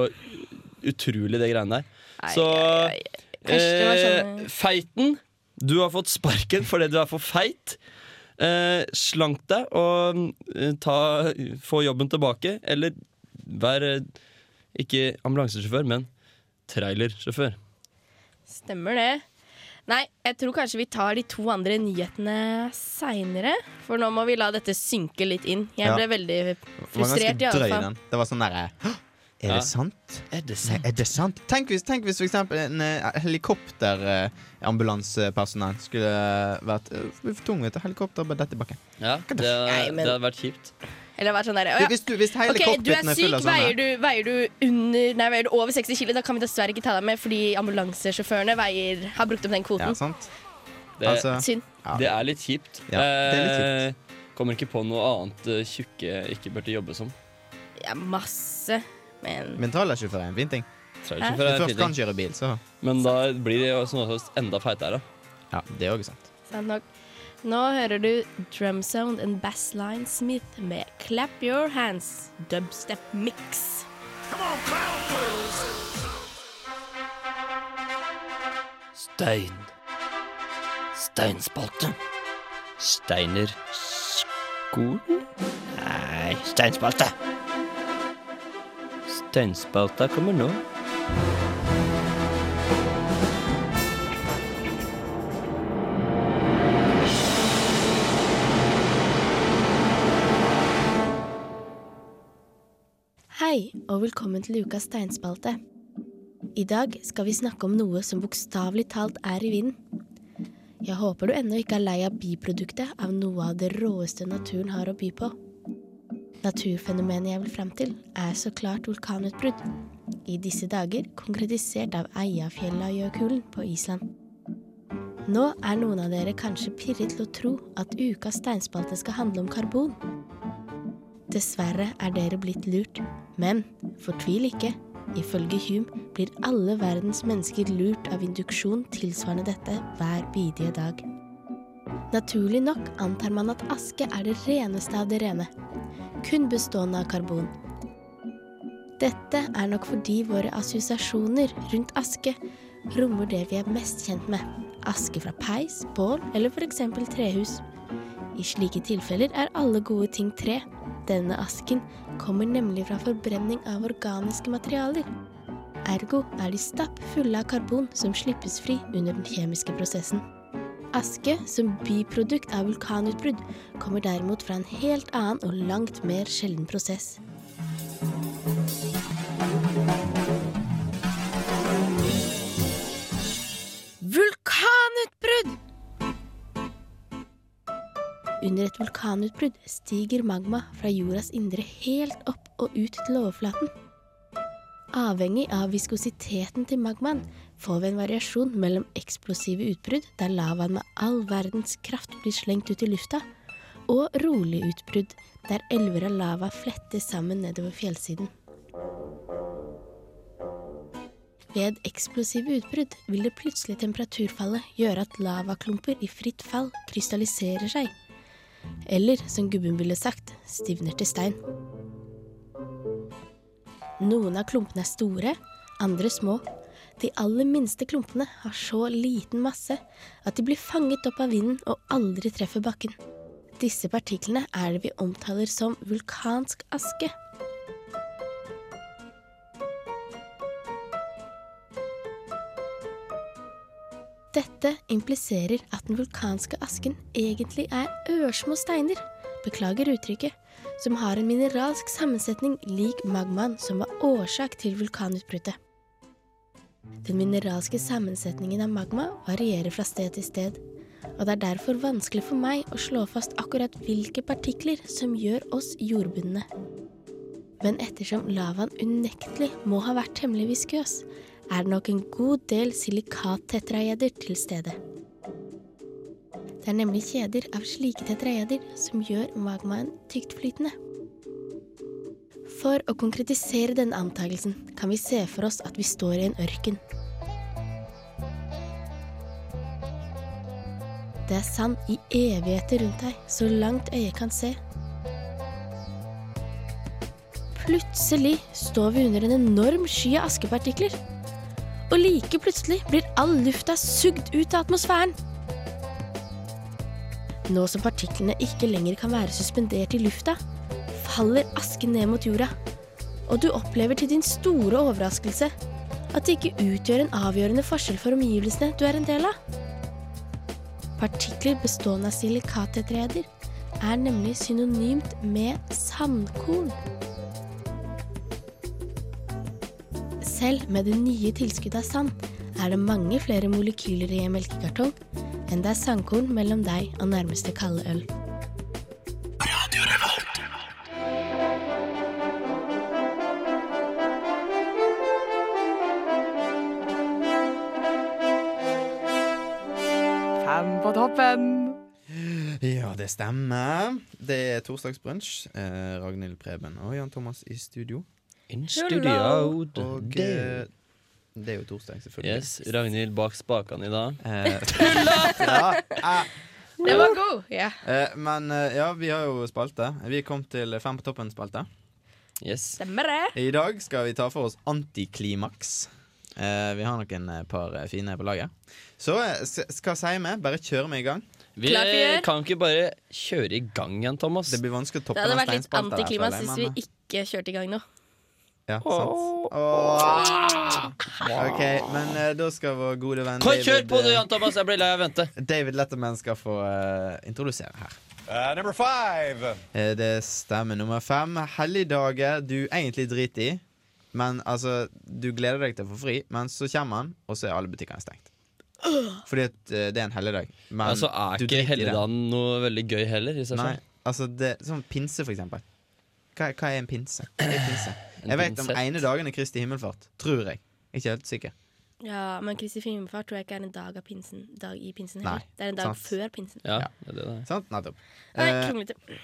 [SPEAKER 2] utrolig, det greiene der.
[SPEAKER 1] Ai,
[SPEAKER 2] Så
[SPEAKER 1] ai, ai. Kanskje det var sånn-
[SPEAKER 2] eh, feiten, du har fått sparken fordi du er for feit. Eh, slank deg og eh, ta, få jobben tilbake. Eller vær eh, ikke ambulansesjåfør, men trailersjåfør.
[SPEAKER 1] Stemmer det. Nei, jeg tror kanskje vi tar de to andre nyhetene seinere. For nå må vi la dette synke litt inn. Jeg
[SPEAKER 4] Ja.
[SPEAKER 1] ble veldig
[SPEAKER 4] Den var ganske
[SPEAKER 1] frustrert, i alle
[SPEAKER 4] drøy,
[SPEAKER 1] fall.
[SPEAKER 4] den. Det var sånn derre «Hå! Er
[SPEAKER 2] Ja.
[SPEAKER 4] det sant?
[SPEAKER 2] Er det
[SPEAKER 4] Nei, er det sant? Tenk hvis, tenk hvis for eksempel en eh, helikopterambulansepersonell skulle vært eh, for tung til helikopter bare dette i bakken.
[SPEAKER 2] Ja, det,
[SPEAKER 1] Nei, men-
[SPEAKER 2] det hadde vært kjipt.
[SPEAKER 1] Eller vært sånn der, «Å ja,
[SPEAKER 4] Hvis, du, hvis hele
[SPEAKER 1] Ok, du er
[SPEAKER 4] cockpiten er
[SPEAKER 1] syk,
[SPEAKER 4] full av sånne
[SPEAKER 1] veier du, veier du under Nei, veier du over 60 kilo, da kan vi dessverre ikke ta deg med fordi ambulansesjåførene veier, har brukt opp den
[SPEAKER 4] Ja,
[SPEAKER 1] kvoten.
[SPEAKER 4] sant?
[SPEAKER 2] Det,
[SPEAKER 4] altså,
[SPEAKER 1] Synd.
[SPEAKER 4] ja.
[SPEAKER 2] det er litt kjipt.
[SPEAKER 4] Ja, det er litt kjipt.
[SPEAKER 2] Eh, kommer ikke på noe annet eh, tjukke ikke burde jobbe som.
[SPEAKER 1] Ja, masse. Men
[SPEAKER 4] Mentalassjåfør er en fin ting. Hvis
[SPEAKER 2] Trailersjåfør
[SPEAKER 4] du
[SPEAKER 2] er en
[SPEAKER 4] først
[SPEAKER 2] fitting.
[SPEAKER 4] kan kjøre bil, så
[SPEAKER 2] Men da blir det jo som oftest enda feitere.
[SPEAKER 4] Ja, det er òg sant.
[SPEAKER 1] sant Sånn nok. Nå hører du Drum Sound and Bassline Smith med Clap Your Hands dubstep mix.
[SPEAKER 2] Stein. Steinspalte. Steinerskolen? Nei, steinspalte. Steinspalta kommer nå.
[SPEAKER 3] Hei, og velkommen til ukas steinspalte. I dag skal vi snakke om noe som bokstavelig talt er i vinden. Jeg håper du ennå ikke er lei av biproduktet av noe av det råeste naturen har å by på. Naturfenomenet jeg vil fram til, er så klart vulkanutbrudd. I disse dager konkretisert av Eiafjallajökull på Island. Nå er noen av dere kanskje pirret til å tro at ukas steinspalte skal handle om karbon. Dessverre er dere blitt lurt, men fortvil ikke. Ifølge Hume blir alle verdens mennesker lurt av induksjon tilsvarende dette hver bidige dag. Naturlig nok antar man at aske er det reneste av det rene, kun bestående av karbon. Dette er nok fordi våre assosiasjoner rundt aske rommer det vi er mest kjent med. Aske fra peis, bål eller f.eks. trehus. I slike tilfeller er alle gode ting tre. Denne asken kommer nemlig fra forbrenning av organiske materialer.
[SPEAKER 1] Ergo er de stappfulle av karbon som slippes fri under den kjemiske prosessen. Aske som biprodukt av vulkanutbrudd kommer derimot fra en helt annen og langt mer sjelden prosess.
[SPEAKER 10] Vulkanutbrudd!
[SPEAKER 1] Under et vulkanutbrudd stiger magma fra jordas indre helt opp og ut til overflaten. Avhengig av viskositeten til magmaen får vi en variasjon mellom eksplosive utbrudd, der lavaen med all verdens kraft blir slengt ut i lufta, og rolige utbrudd, der elver av lava flettes sammen nedover fjellsiden. Ved eksplosive utbrudd vil det plutselige temperaturfallet gjøre at lavaklumper i fritt fall krystalliserer seg, eller som gubben ville sagt, stivner til stein. Noen av klumpene er store, andre små. De aller minste klumpene har så liten masse at de blir fanget opp av vinden og aldri treffer bakken. Disse partiklene er det vi omtaler som vulkansk aske. Dette impliserer at den vulkanske asken egentlig er ørsmå steiner, beklager uttrykket, som har en mineralsk sammensetning lik magmaen som var årsak til vulkanutbruddet. Den mineralske sammensetningen av magma varierer fra sted til sted, og det er derfor vanskelig for meg å slå fast akkurat hvilke partikler som gjør oss jordbundne. Men ettersom lavaen unektelig må ha vært temmelig viskøs, er det nok en god del silikattetraeder til stede. Det er nemlig kjeder av slike tetraeder som gjør magmaen tyktflytende. For å konkretisere denne antakelsen kan vi se for oss at vi står i en ørken. Det er sand i evigheter rundt deg, så langt øyet kan se. Plutselig står vi under en enorm sky av askepartikler. Og like plutselig blir all lufta sugd ut av atmosfæren. Nå som partiklene ikke lenger kan være suspendert i lufta, faller asken ned mot jorda. Og du opplever til din store overraskelse at det ikke utgjør en avgjørende forskjell for omgivelsene du er en del av. Partikler bestående av silikattetreder er nemlig synonymt med sandkorn. Selv med det nye tilskuddet av sand er det mange flere molekyler i en melkekartong enn det er sandkorn mellom deg og nærmeste kalde øl.
[SPEAKER 11] Fem på toppen.
[SPEAKER 4] Ja, det stemmer. Det er torsdagsbrunsj. Eh, Ragnhild Preben og Jan Thomas i studio.
[SPEAKER 2] In
[SPEAKER 10] Hello.
[SPEAKER 2] studio
[SPEAKER 4] Og eh, det er jo torsdag, selvfølgelig.
[SPEAKER 2] Yes, Ragnhild bak spakene i dag.
[SPEAKER 4] Eh, ja, eh,
[SPEAKER 10] Den var god! Ja.
[SPEAKER 4] eh, men eh, ja, vi har jo spalte. Vi kom til Fem på toppen-spalte.
[SPEAKER 2] Yes.
[SPEAKER 10] Stemmer det.
[SPEAKER 4] I dag skal vi ta for oss antiklimaks. Eh, vi har noen eh, par eh, fine på laget. Så eh, s- hva sier vi? Bare kjører vi i gang.
[SPEAKER 2] Vi
[SPEAKER 10] Klar, fyr.
[SPEAKER 2] kan ikke bare kjøre i gang igjen, Thomas.
[SPEAKER 4] Det blir vanskelig å toppe
[SPEAKER 10] Det hadde
[SPEAKER 4] den
[SPEAKER 10] vært litt
[SPEAKER 4] steinspalta her,
[SPEAKER 10] antiklimas
[SPEAKER 4] føler jeg,
[SPEAKER 10] hvis
[SPEAKER 4] men, eh,
[SPEAKER 10] vi ikke kjørte i gang nå.
[SPEAKER 4] Ja, sant. Åh. OK, men eh, da skal vår gode venn
[SPEAKER 2] Kom, kjør
[SPEAKER 4] David,
[SPEAKER 2] på du,
[SPEAKER 4] eh,
[SPEAKER 2] Jan Thomas! Jeg blir lei av å vente.
[SPEAKER 4] David Letterman skal få eh, introdusere her.
[SPEAKER 12] Eh, number five.
[SPEAKER 4] Eh, det stemmer nummer fem. Helligdager du egentlig driter i, men altså Du gleder deg til å få fri, men så kommer han, og så er alle butikkene stengt. Fordi at eh, det er en helligdag. Men
[SPEAKER 2] Altså, er
[SPEAKER 4] du
[SPEAKER 2] ikke
[SPEAKER 4] driter i det.
[SPEAKER 2] helligdagen noe veldig gøy heller? I seg
[SPEAKER 4] Nei,
[SPEAKER 2] selv?
[SPEAKER 4] altså det, Sånn pinse, for eksempel. Hva, hva er en pinse? Hva er pinse?
[SPEAKER 2] En
[SPEAKER 4] Jeg vet om
[SPEAKER 2] pinsett.
[SPEAKER 4] ene dagen er Kristi himmelfart. Tror jeg. Ikke helt sikker.
[SPEAKER 10] Ja, Men Kristi himmelfart tror jeg ikke er en dag, av pinsen, dag i pinsen
[SPEAKER 4] Nei,
[SPEAKER 10] heller. det er en dag
[SPEAKER 4] sant.
[SPEAKER 10] før pinsen.
[SPEAKER 2] Ja, det er det det er.
[SPEAKER 4] Sant? Nettopp.
[SPEAKER 10] Nei,
[SPEAKER 4] Eh,
[SPEAKER 10] kronglete.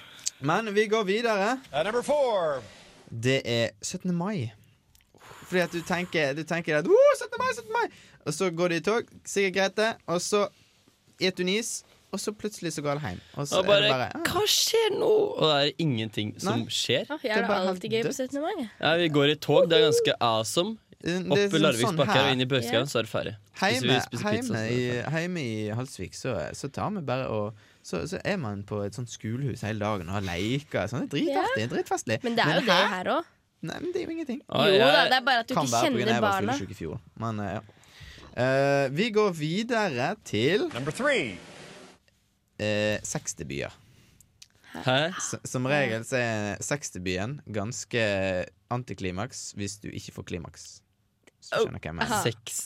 [SPEAKER 4] men vi går videre.
[SPEAKER 12] number four.
[SPEAKER 4] Det er 17. mai. Fordi at du tenker, du tenker at oh, 17. mai, 17. mai! Og så går du i tog, sikkert greit det, og så et du nis, og så plutselig så går det hjem. Og så
[SPEAKER 2] Og
[SPEAKER 4] er
[SPEAKER 2] bare,
[SPEAKER 4] det bare ah,
[SPEAKER 2] Hva skjer nå? Og det er ingenting som
[SPEAKER 4] Nei.
[SPEAKER 2] skjer.
[SPEAKER 10] Å, jeg
[SPEAKER 4] det er
[SPEAKER 10] har det
[SPEAKER 4] bare helt
[SPEAKER 10] alltid gøy på
[SPEAKER 4] dødt.
[SPEAKER 10] 17. mai. jeg.
[SPEAKER 2] Ja, vi går i tog, det er ganske awesome.
[SPEAKER 4] det er
[SPEAKER 2] Opp i
[SPEAKER 4] sånn-
[SPEAKER 2] Larviks
[SPEAKER 4] sånn
[SPEAKER 2] bakker
[SPEAKER 4] her.
[SPEAKER 2] og inn i Børskauen, så er det ferdig. Spiser
[SPEAKER 4] Heime,
[SPEAKER 2] vi- spiser pizza, så
[SPEAKER 4] heime,
[SPEAKER 2] er det
[SPEAKER 4] i,
[SPEAKER 2] ferdig.
[SPEAKER 4] heime i Halsvik så, eh, så tar vi bare og så, så er man på et sånt skolehus hele dagen og har leker. Sånn, det er dritartig. Dritfestlig.
[SPEAKER 10] Men det er jo det
[SPEAKER 4] her-
[SPEAKER 10] her òg.
[SPEAKER 4] Nei, men det er jo ingenting.
[SPEAKER 2] Ah, Jo jeg- da, det
[SPEAKER 1] er bare at du
[SPEAKER 4] Kan
[SPEAKER 1] ikke
[SPEAKER 4] være på grunn av
[SPEAKER 1] kjenner
[SPEAKER 4] jeg var
[SPEAKER 1] barna.
[SPEAKER 4] fyllesyk i fjor, men eh, ja. Eh, vi går videre til Number three. Sexdebyer.
[SPEAKER 2] Hæ?
[SPEAKER 4] S som regel så er sexdebuten ganske antiklimaks hvis du ikke får klimaks. Hvis du skjønner hva jeg mener.
[SPEAKER 2] Aha. Sex.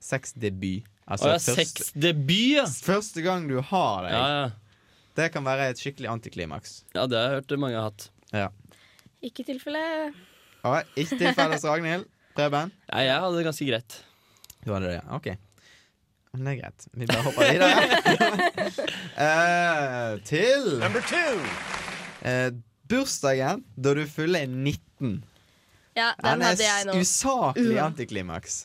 [SPEAKER 4] Sexdebut.
[SPEAKER 2] Å ja, sexdebut, ja.
[SPEAKER 4] Altså, Første gang du har deg.
[SPEAKER 2] Ja, ja.
[SPEAKER 4] Det kan være et skikkelig antiklimaks.
[SPEAKER 2] Ja, det har jeg hørt mange har hatt.
[SPEAKER 4] Ja.
[SPEAKER 1] Ikke tilfelle
[SPEAKER 4] All right, ikke tilfellet, så Ragnhild. Preben?
[SPEAKER 2] Nei, jeg hadde det ganske greit.
[SPEAKER 4] Du hadde det, ja. Ok. Men det er greit. Vi bare hopper videre. Eh, til
[SPEAKER 9] Number two.
[SPEAKER 4] Eh, bursdagen da du fyller 19.
[SPEAKER 1] Ja, den
[SPEAKER 4] Den er
[SPEAKER 1] hadde jeg nå. Uh.
[SPEAKER 4] usaklig
[SPEAKER 1] Ua.
[SPEAKER 4] antiklimaks.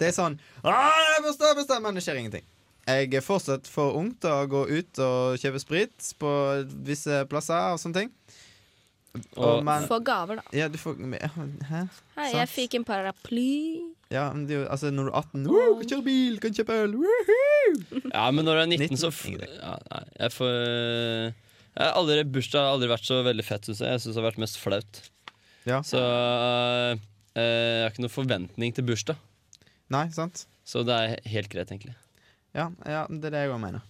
[SPEAKER 4] Det er sånn «Ah, det er bursdag, bursdag», Men det skjer ingenting. Jeg er fortsatt for ung til å gå ut og kjøpe sprit på visse plasser og sånne ting. Og men-
[SPEAKER 1] Få gaver, da.
[SPEAKER 4] ja, du får ja, Hæ?
[SPEAKER 1] Hei,
[SPEAKER 4] Sant.
[SPEAKER 1] jeg fikk en paraply.
[SPEAKER 4] Ja, men det er jo, altså, når du er 18 Woo, kan kjøre bil, kan kjøpe øl! Woohoo!
[SPEAKER 2] Ja, men når du er 19, så f ja, nei, Jeg får jeg har aldri, Bursdag har aldri vært så veldig fett, syns jeg. Jeg synes det har vært mest flaut. Så øh, jeg har ikke noen forventning til bursdag.
[SPEAKER 4] Nei, sant?
[SPEAKER 2] Så det er helt greit, egentlig.
[SPEAKER 4] Ja, ja, det er det jeg òg mener.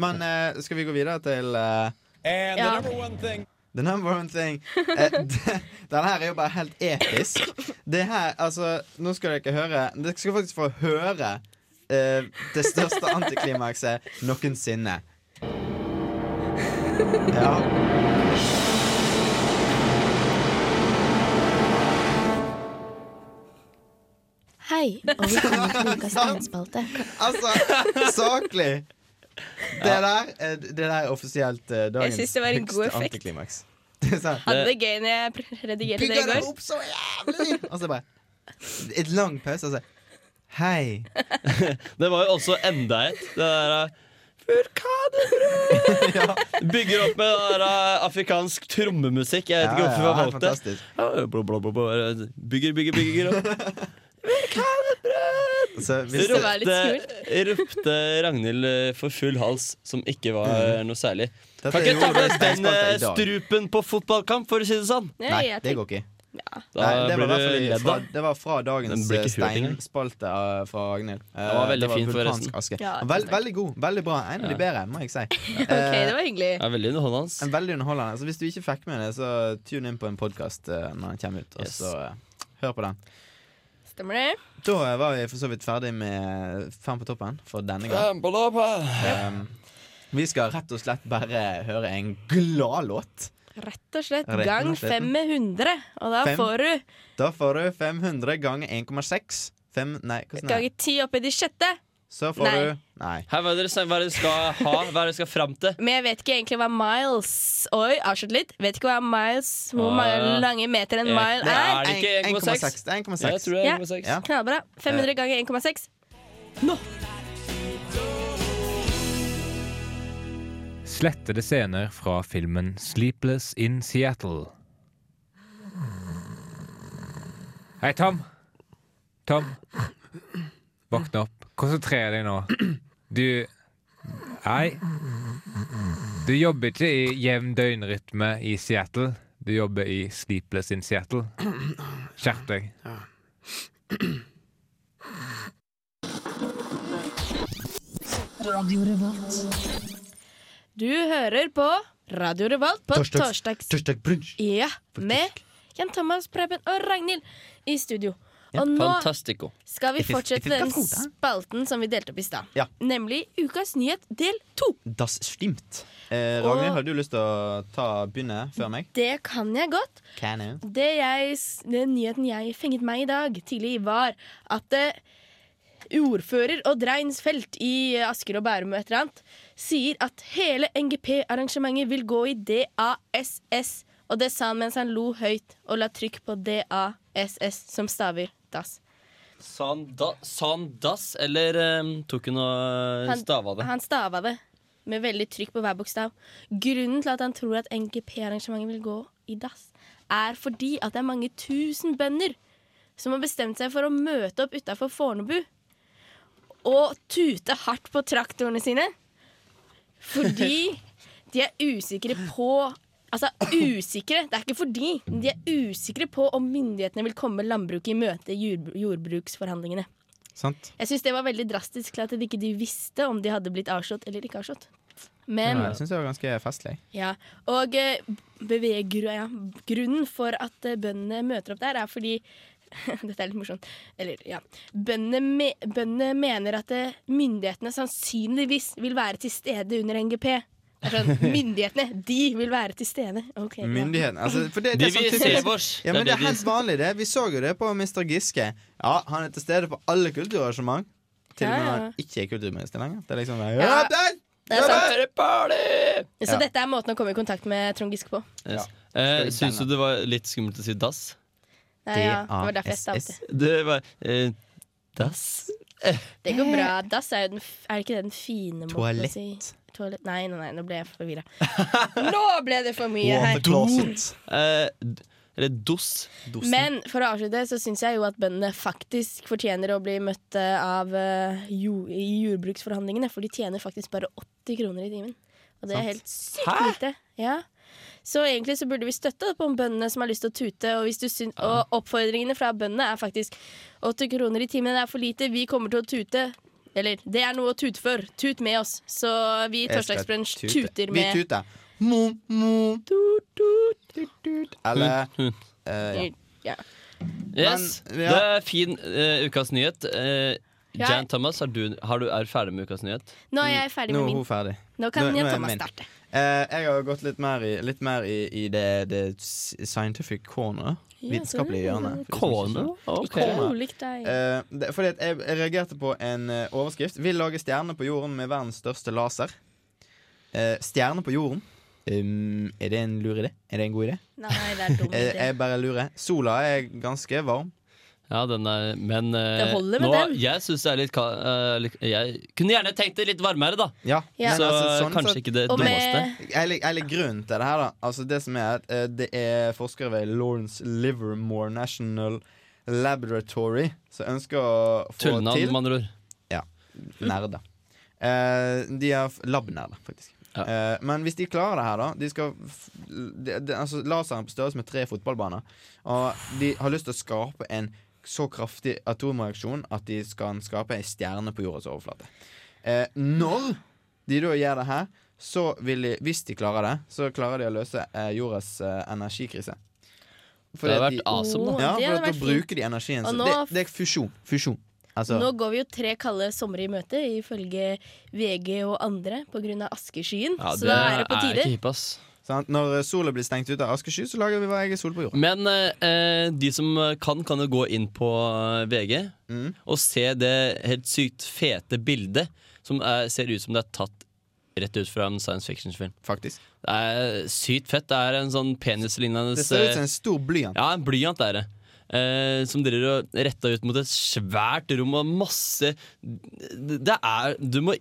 [SPEAKER 4] Men eh, skal vi gå videre til eh,
[SPEAKER 9] And
[SPEAKER 4] Ja.
[SPEAKER 9] the number one thing.
[SPEAKER 4] The number one thing eh, d- Den her er jo bare helt episk. Det her, altså Nå skal dere høre Dere skal faktisk få høre eh, det største antiklimakset noensinne. Ja.
[SPEAKER 3] Hei, og velkommen til ukas tegnspalte.
[SPEAKER 4] Altså, saklig! Det der, eh, det der er offisielt eh, dagens
[SPEAKER 1] synes det var en god
[SPEAKER 4] høyeste
[SPEAKER 1] effekt.
[SPEAKER 4] antiklimaks. Det er sant.
[SPEAKER 1] Hadde det gøy når jeg pr- redigerte det i
[SPEAKER 4] Bygger det
[SPEAKER 1] går.
[SPEAKER 4] opp så jævlig! Og så bare Et lang pause, og så Hei.
[SPEAKER 2] Det var jo også enda et. Det der Vulkanebrød! Bygger opp med det der eh, afrikansk trommemusikk. Jeg vet ikke
[SPEAKER 4] Ja,
[SPEAKER 2] hvorfor
[SPEAKER 4] ja,
[SPEAKER 2] vi har valgt
[SPEAKER 4] det er
[SPEAKER 2] det. Ja, bla, bla, bla, bla. eh, Bygger, bygger, bygger opp.
[SPEAKER 4] Så hvis det-
[SPEAKER 2] Ropte, ropte Ragnhild eh, for full hals, som ikke var eh,
[SPEAKER 4] Mm.
[SPEAKER 2] noe særlig.
[SPEAKER 4] Dette
[SPEAKER 2] kan ikke
[SPEAKER 4] er
[SPEAKER 2] ta
[SPEAKER 4] jo
[SPEAKER 2] med
[SPEAKER 4] det
[SPEAKER 2] den eh,
[SPEAKER 4] steinsparta i dag.
[SPEAKER 2] strupen på fotballkamp, for å si det sånn!
[SPEAKER 4] Nei, det går ikke.
[SPEAKER 2] Da
[SPEAKER 4] Nei, det, var
[SPEAKER 2] blir
[SPEAKER 4] i hvert fall
[SPEAKER 2] du
[SPEAKER 4] i-
[SPEAKER 2] redd,
[SPEAKER 4] fra,
[SPEAKER 2] da.
[SPEAKER 4] det var fra dagens
[SPEAKER 2] Den blir ikke hurt engang.
[SPEAKER 4] steinspalte eh, fra Ragnhild. Eh,
[SPEAKER 2] Den var veldig fin,
[SPEAKER 4] vulkansk
[SPEAKER 2] forresten.
[SPEAKER 4] aske.
[SPEAKER 2] Ja,
[SPEAKER 4] Vel- veldig god. Veldig bra. En av de
[SPEAKER 2] Ja.
[SPEAKER 4] bedre, må jeg si.
[SPEAKER 1] Ok, det var hyggelig.
[SPEAKER 2] Ja, veldig underholdende.
[SPEAKER 4] En veldig underholdende. Så hvis du ikke fikk med det, så tune inn på en podkast når den kommer ut. Og
[SPEAKER 2] Yes.
[SPEAKER 4] så eh, hør på den.
[SPEAKER 1] Stemmer det?
[SPEAKER 4] Da eh, var vi for så vidt ferdig med Fem på toppen for denne gang.
[SPEAKER 2] på toppen!
[SPEAKER 4] Um, vi skal rett og slett bare høre en gladlåt.
[SPEAKER 1] Rett og slett
[SPEAKER 4] Rett og
[SPEAKER 1] gang
[SPEAKER 4] slett.
[SPEAKER 1] fem med 100, og da
[SPEAKER 4] Fem.
[SPEAKER 1] får du
[SPEAKER 4] Da får du 500 ganger 1,6. Fem, nei, hvordan er det?
[SPEAKER 1] ganger ti oppi de sjette.
[SPEAKER 4] Så får
[SPEAKER 1] Nei.
[SPEAKER 4] du Nei.
[SPEAKER 2] Her, hva, er det dere, hva er det dere skal ha? Hva er det dere skal fram til?
[SPEAKER 1] Men jeg vet ikke egentlig hva miles Oi, avslutt litt. Vet ikke hva miles Hvor
[SPEAKER 2] Ah.
[SPEAKER 1] mange lange meter en
[SPEAKER 2] Eh,
[SPEAKER 1] mile
[SPEAKER 2] det er
[SPEAKER 1] er.
[SPEAKER 2] det ikke 1,6?
[SPEAKER 4] Det er 1,6.
[SPEAKER 2] Ja, jeg tror det er 1,6.
[SPEAKER 1] Ja. Knallbra. 500 ganger 1,6.
[SPEAKER 6] Slettede scener fra filmen Sleepless in Seattle. Hei, Tom. Tom. Våkne opp. Konsentrer deg nå. Du Hei. Du jobber ikke i jevn døgnrytme i Seattle. Du jobber i Sleepless in Seattle. Skjerp deg.
[SPEAKER 3] Radio Revolt.
[SPEAKER 1] Du hører på Radio Revolt på
[SPEAKER 4] Torsdags-
[SPEAKER 1] torsdags...
[SPEAKER 4] Brunsj.
[SPEAKER 1] Ja, med Jan Thomas, Preben og Ragnhild i studio. Og nå
[SPEAKER 2] Fantastico.
[SPEAKER 1] skal vi
[SPEAKER 4] If it-
[SPEAKER 1] fortsette
[SPEAKER 4] if it got
[SPEAKER 1] den
[SPEAKER 4] cold, eh?
[SPEAKER 1] spalten som vi delte opp i stad.
[SPEAKER 4] Ja.
[SPEAKER 1] Nemlig Ukas nyhet del to.
[SPEAKER 4] Das stimmt. Eh, Ragnhild, har du lyst til å ta, begynne før meg?
[SPEAKER 1] Det kan jeg godt.
[SPEAKER 4] Can you?
[SPEAKER 1] Det jeg, s- den nyheten jeg fenget meg i dag tidlig, var at eh, ordfører Odd Reinsfelt i eh, Asker og Bærum og et eller annet sier at hele NGP-arrangementet vil gå i DASS. Og det sa han mens han lo høyt og la trykk på DASS, som staver dass.
[SPEAKER 2] Sanda, sandas, eller eh, tok hun og
[SPEAKER 1] Han-
[SPEAKER 2] stava det?
[SPEAKER 1] Han stava det med veldig trykk på hver bokstav. Grunnen til at han tror at NGP-arrangementet vil gå i dass, er fordi at det er mange tusen bønder som har bestemt seg for å møte opp utafor Fornebu og tute hardt på traktorene sine fordi de er usikre på Altså, usikre. Det er ikke fordi. De er usikre på om myndighetene vil komme landbruket i møte i jordbru- jordbruksforhandlingene.
[SPEAKER 4] Sant?
[SPEAKER 1] Jeg syns det var veldig drastisk til at de ikke de visste om de hadde blitt avslått eller ikke avslått. Men
[SPEAKER 4] Ja, jeg syns det var ganske festlig.
[SPEAKER 1] ja, og eh, beveggru- ja, grunnen for at eh, bøndene møter opp der, er fordi Dette er litt morsomt. Eller, ja. Bøndene, me, bøndene mener at eh, myndighetene sannsynligvis vil være til stede under NGP. Det er Sånn, myndighetene, de vil være til stede. Ok, ja.
[SPEAKER 4] Myndighetene. Altså, for det,
[SPEAKER 2] De
[SPEAKER 4] det er sånn
[SPEAKER 2] vil se
[SPEAKER 4] typisk-
[SPEAKER 2] oss.
[SPEAKER 4] Ja,
[SPEAKER 2] Det er
[SPEAKER 4] men det er
[SPEAKER 2] det de-
[SPEAKER 4] helt vanlig, det. Vi så jo det på Mr. Giske. Ja, han er til stede på alle kulturarrangement. Til og med
[SPEAKER 1] Ja,
[SPEAKER 4] når
[SPEAKER 1] ja.
[SPEAKER 4] han ikke er kulturminister lenger. Det er liksom ja,
[SPEAKER 1] Ja,
[SPEAKER 4] der!
[SPEAKER 1] Det er sant. Så
[SPEAKER 4] Ja.
[SPEAKER 1] dette er måten å komme i kontakt med Trond Giske på.
[SPEAKER 2] Yes. Eh, Syns du det var litt skummelt å si dass?
[SPEAKER 1] Nei, ja, det var derfor jeg stavte.
[SPEAKER 2] Det var eh, Dass?
[SPEAKER 1] Det går bra. Dass er jo den, f- er ikke det den fine måten å
[SPEAKER 4] Toalett.
[SPEAKER 1] si Toalett. Nei, nei, nei, nå ble jeg forvirra. Nå ble det for mye her.
[SPEAKER 4] Watercloset.
[SPEAKER 2] Eh, d- eller dos?
[SPEAKER 1] Men for å avslutte så syns jeg jo at bøndene faktisk fortjener å bli møtt eh, av eh, jo, i jordbruksforhandlingene, for de tjener faktisk bare 80 kroner i timen. Og det er helt sykt lite. Ja. Så egentlig så burde vi støtte opp om bøndene som har lyst til å tute. Og, hvis du syn og oppfordringene fra bøndene er faktisk 80 kroner i timen er for lite, vi kommer til å tute. Eller det er noe å tute for. Tut med oss. Så vi i
[SPEAKER 4] Jeg skal
[SPEAKER 1] Torsdagsbrunsj
[SPEAKER 4] tute.
[SPEAKER 1] tuter med
[SPEAKER 4] Vi tuter. Mo, mo, tut, tut, tut, tut. Eller eh, ja.
[SPEAKER 1] Ja.
[SPEAKER 2] Yes,
[SPEAKER 4] Men, ja.
[SPEAKER 2] Det er fin eh, ukas nyhet. Eh,
[SPEAKER 1] Ja.
[SPEAKER 2] Jan Thomas, har du, har du, er du ferdig med ukas nyhet?
[SPEAKER 1] Nå er jeg ferdig
[SPEAKER 4] Nå
[SPEAKER 1] med
[SPEAKER 4] er hun
[SPEAKER 1] min.
[SPEAKER 4] ferdig.
[SPEAKER 1] Nå kan
[SPEAKER 4] Nå- nå er
[SPEAKER 1] Jan
[SPEAKER 4] jeg
[SPEAKER 1] Thomas
[SPEAKER 4] min.
[SPEAKER 1] starte.
[SPEAKER 4] Eh, jeg har gått litt mer i, litt mer i, i det, det s- scientific corner.
[SPEAKER 1] Ja,
[SPEAKER 4] Vitenskapelige
[SPEAKER 1] så-
[SPEAKER 4] hjørnet. for de som ikke
[SPEAKER 2] Kone? Ok.
[SPEAKER 1] Ikke
[SPEAKER 4] Corner.
[SPEAKER 1] ulikt deg.
[SPEAKER 4] Eh, det, fordi at jeg, jeg reagerte på en eh, overskrift. Vil lage stjerne på jorden med verdens største laser. Eh, stjerne på jorden. Um, er det en lur idé? Er det en god idé?
[SPEAKER 1] Nei, det er dumt.
[SPEAKER 4] Eh, jeg bare lurer. Sola er ganske varm.
[SPEAKER 2] Ja, den er Men eh,
[SPEAKER 1] Det holder med
[SPEAKER 2] nå,
[SPEAKER 1] den.
[SPEAKER 2] jeg syns det er litt, ka- eh, litt Jeg kunne gjerne tenkt det litt varmere, da.
[SPEAKER 4] Ja,
[SPEAKER 1] Ja.
[SPEAKER 4] men
[SPEAKER 2] Så eh,
[SPEAKER 4] altså, sånn
[SPEAKER 2] kanskje
[SPEAKER 4] sett-
[SPEAKER 2] ikke det
[SPEAKER 1] Og
[SPEAKER 2] dummeste.
[SPEAKER 1] med
[SPEAKER 4] Eller, eller grunnen til det her, da. Altså Det som er at eh, det er forskere ved Lawrence Livermore National Laboratory som ønsker å få
[SPEAKER 2] Tullnavn,
[SPEAKER 4] til
[SPEAKER 2] med andre ord.
[SPEAKER 4] Nerder. Eh, de er f- labnerder, faktisk.
[SPEAKER 2] Ja.
[SPEAKER 4] Eh, men hvis de klarer det her, da de skal f de, de, altså, Laseren er på størrelse med tre fotballbaner. Og de har lyst til å skape en så kraftig atomreaksjon at de skal skape ei stjerne på jordas overflate. Eh, når de da gjør det her, så vil de Hvis de klarer det, så klarer de å løse eh, jordas eh, energikrise.
[SPEAKER 2] Det hadde
[SPEAKER 4] at
[SPEAKER 2] vært awesome, da.
[SPEAKER 1] Åh, det hadde
[SPEAKER 4] ja, for at da
[SPEAKER 1] vært fint.
[SPEAKER 4] bruker de energien
[SPEAKER 1] Og
[SPEAKER 4] sin.
[SPEAKER 1] nå
[SPEAKER 4] Det,
[SPEAKER 1] f-
[SPEAKER 4] det er fusjon. Fusjon. Altså,
[SPEAKER 1] Nå går vi jo tre kalde somre i møte, ifølge VG og andre, pga. askeskyen.
[SPEAKER 2] Ja,
[SPEAKER 1] så da er det på
[SPEAKER 2] er ikke
[SPEAKER 1] tide.
[SPEAKER 2] hipp, ass.
[SPEAKER 4] sant? Når sola blir stengt ute av askesky, så lager vi vår egen sol på jord.
[SPEAKER 2] Men eh, eh, de som kan, kan jo gå inn på eh, VG
[SPEAKER 4] Mm.
[SPEAKER 2] og se det helt sykt fete bildet som er, ser ut som det er tatt rett ut fra en science fiction-film.
[SPEAKER 4] Faktisk.
[SPEAKER 2] Det er sykt fett. Det er en sånn penislignende
[SPEAKER 4] Det ser ut som
[SPEAKER 2] eh,
[SPEAKER 4] en stor blyant.
[SPEAKER 2] Ja, en blyant er det. Eh, som driver og retter ut mot et svært rom og masse Det det er Du må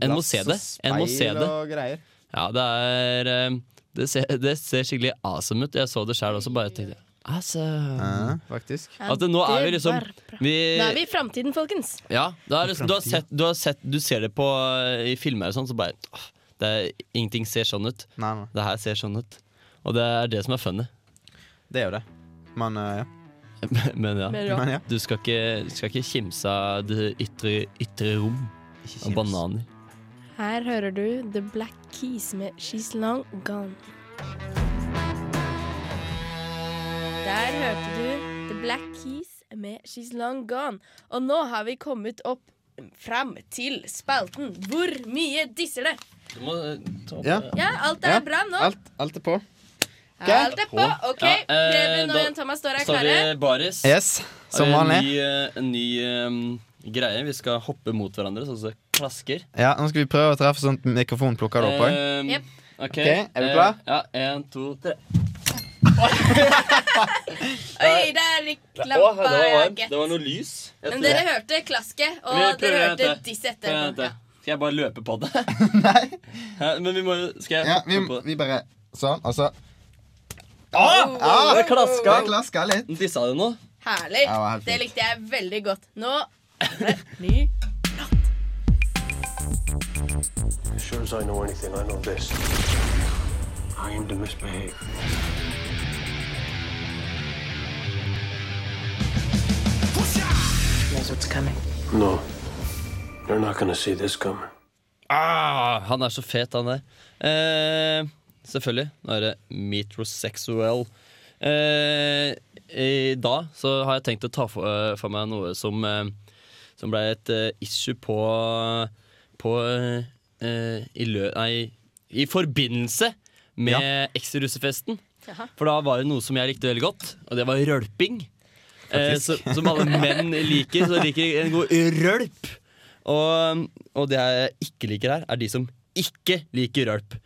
[SPEAKER 2] En må se det.
[SPEAKER 4] Glass og
[SPEAKER 2] En må se
[SPEAKER 4] speil
[SPEAKER 2] det.
[SPEAKER 4] og greier.
[SPEAKER 2] Ja, det er eh, det ser, det ser skikkelig awesome ut. Jeg så det sjøl også, bare tenkte altså,
[SPEAKER 4] Ja, faktisk.
[SPEAKER 1] Ja,
[SPEAKER 2] At det- nå er
[SPEAKER 1] det
[SPEAKER 2] vi liksom-
[SPEAKER 1] var bra.
[SPEAKER 2] vi,
[SPEAKER 1] Nå er vi i framtiden, folkens.
[SPEAKER 2] Ja, da er liksom, du, har sett, du, har sett, du ser det på eh, i filmer og sånn, så bare åh, det er, Ingenting ser sånn ut.
[SPEAKER 4] Nei, nei,
[SPEAKER 2] Det her ser sånn ut. Og det er det som er funny.
[SPEAKER 4] det er jo det. Men eh, ja.
[SPEAKER 2] Men ja.
[SPEAKER 1] Med rock.
[SPEAKER 4] Men, ja.
[SPEAKER 2] Du skal ikke, du skal ikke kimse av det ytre, ytre rom og bananer.
[SPEAKER 1] Her hører du The Black Keys med She's Long Gone. Der hørte du The Black Keys med She's Long Gone. Og nå har vi kommet opp fram til spalten Hvor mye disser det?
[SPEAKER 2] Du må eh, ta
[SPEAKER 4] Ja,
[SPEAKER 1] Ja, alt er
[SPEAKER 4] Ja,
[SPEAKER 1] bra nå.
[SPEAKER 4] alt, alt er på.
[SPEAKER 1] Alt er på. OK.
[SPEAKER 2] Ja, eh,
[SPEAKER 1] Preben og
[SPEAKER 2] da-
[SPEAKER 1] Jan Thomas står her
[SPEAKER 2] Sorry,
[SPEAKER 1] klare.
[SPEAKER 2] Baris.
[SPEAKER 4] Yes, som
[SPEAKER 2] Har vi
[SPEAKER 4] vanlig.
[SPEAKER 2] En ny, eh, en ny eh, greie. Vi skal hoppe mot hverandre, sånn at det klasker.
[SPEAKER 4] Ja, nå skal vi prøve å treffe sånn at mikrofonen plukker det opp òg.
[SPEAKER 2] Eh,
[SPEAKER 1] Jep.
[SPEAKER 2] ok,
[SPEAKER 4] Ok, er du
[SPEAKER 2] eh,
[SPEAKER 4] klar?
[SPEAKER 2] ja, en, to, tre.
[SPEAKER 1] Oi, der
[SPEAKER 2] Å,
[SPEAKER 1] klappa
[SPEAKER 2] eh, det var varmt.
[SPEAKER 1] jeg.
[SPEAKER 2] Det var noe lys. Jeg
[SPEAKER 1] Men
[SPEAKER 2] tror-
[SPEAKER 1] dere hørte klasket,
[SPEAKER 2] Vi
[SPEAKER 1] og dere
[SPEAKER 2] prøver å
[SPEAKER 1] hørte
[SPEAKER 2] vente.
[SPEAKER 1] diss
[SPEAKER 2] Prøver å
[SPEAKER 1] etterpå.
[SPEAKER 2] vente.
[SPEAKER 1] Ja.
[SPEAKER 2] Skal jeg bare løpe på det? Nei. Men vi må jo Skal jeg
[SPEAKER 4] Ja, vi,
[SPEAKER 2] hoppe på det?
[SPEAKER 4] vi bare Sånn, og så
[SPEAKER 2] Ah, det klaska!
[SPEAKER 4] Det klasker litt.
[SPEAKER 2] Dissa du nå?
[SPEAKER 1] Herlig.
[SPEAKER 4] Ja, det var helt
[SPEAKER 1] Det
[SPEAKER 4] fint.
[SPEAKER 1] likte jeg veldig godt. Nå er det ny
[SPEAKER 13] As sure as I know anything, I know this. time to misbehave.
[SPEAKER 14] knows what's coming.
[SPEAKER 13] No, they're not going to see this coming.
[SPEAKER 2] Ah, han er så fet, han der. Eh, selvfølgelig. Nå er det metrosexual. Eh, I dag så har jeg tenkt å ta for, eh, for meg noe som, eh, som ble et eh, issue på, på eh, i, lø, nei, I forbindelse med
[SPEAKER 15] Ja.
[SPEAKER 2] eks-russefesten.
[SPEAKER 15] Jaha.
[SPEAKER 2] For da var det noe som jeg likte veldig godt, og det var rølping. Eh, så,
[SPEAKER 15] Faktisk.
[SPEAKER 2] som alle menn liker, så liker jeg en god rølp. Og, og det jeg ikke liker her, er de som ikke liker rølp.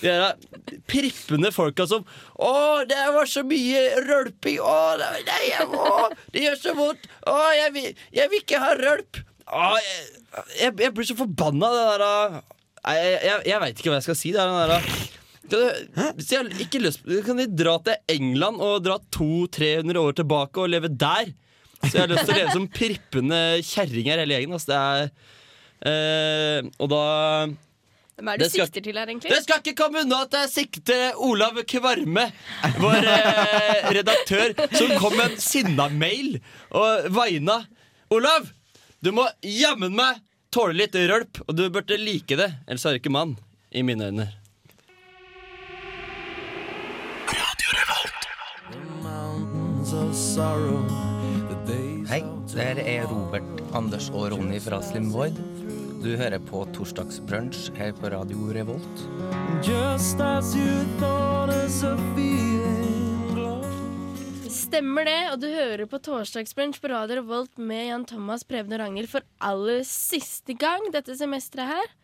[SPEAKER 2] De der prippende folka som Å, det var så mye rølping! Å, nei, nei, jeg må! Det gjør så vondt! Å, jeg vil, jeg vil ikke ha rølp! Å, jeg, jeg, jeg blir så forbanna av det der ah. Nei, jeg, jeg, jeg veit ikke hva jeg skal si. Det er den der ah. Kan du, hvis jeg har ikke lyst Kan de dra til England og dra 200-300 år tilbake og leve der? Så jeg har lyst til å leve som prippende kjerringer hele gjengen. Altså, det er, eh, og da
[SPEAKER 16] Hvem er det
[SPEAKER 2] Det
[SPEAKER 16] du
[SPEAKER 2] skal-
[SPEAKER 16] sikter til her, egentlig?
[SPEAKER 2] Det skal ikke komme unna at jeg sikter Olav Kvarme, vår eh, redaktør, som kom med en sinna-mail og vaina. Olav, du må jammen meg tåle litt rølp, og du burde like det. Ellers er du ikke mann, i mine øyne.
[SPEAKER 5] Hei, det her er Robert, Anders og Ronny fra Slim Void. Du hører på Torsdagsbrunsj her på Radio Revolt.
[SPEAKER 15] Just as you thought as a feeling
[SPEAKER 1] Stemmer det, og du hører på Torsdagsbrunsj på Radio Revolt med Jan Thomas, Preben og Ragnhild for aller siste gang dette semesteret her.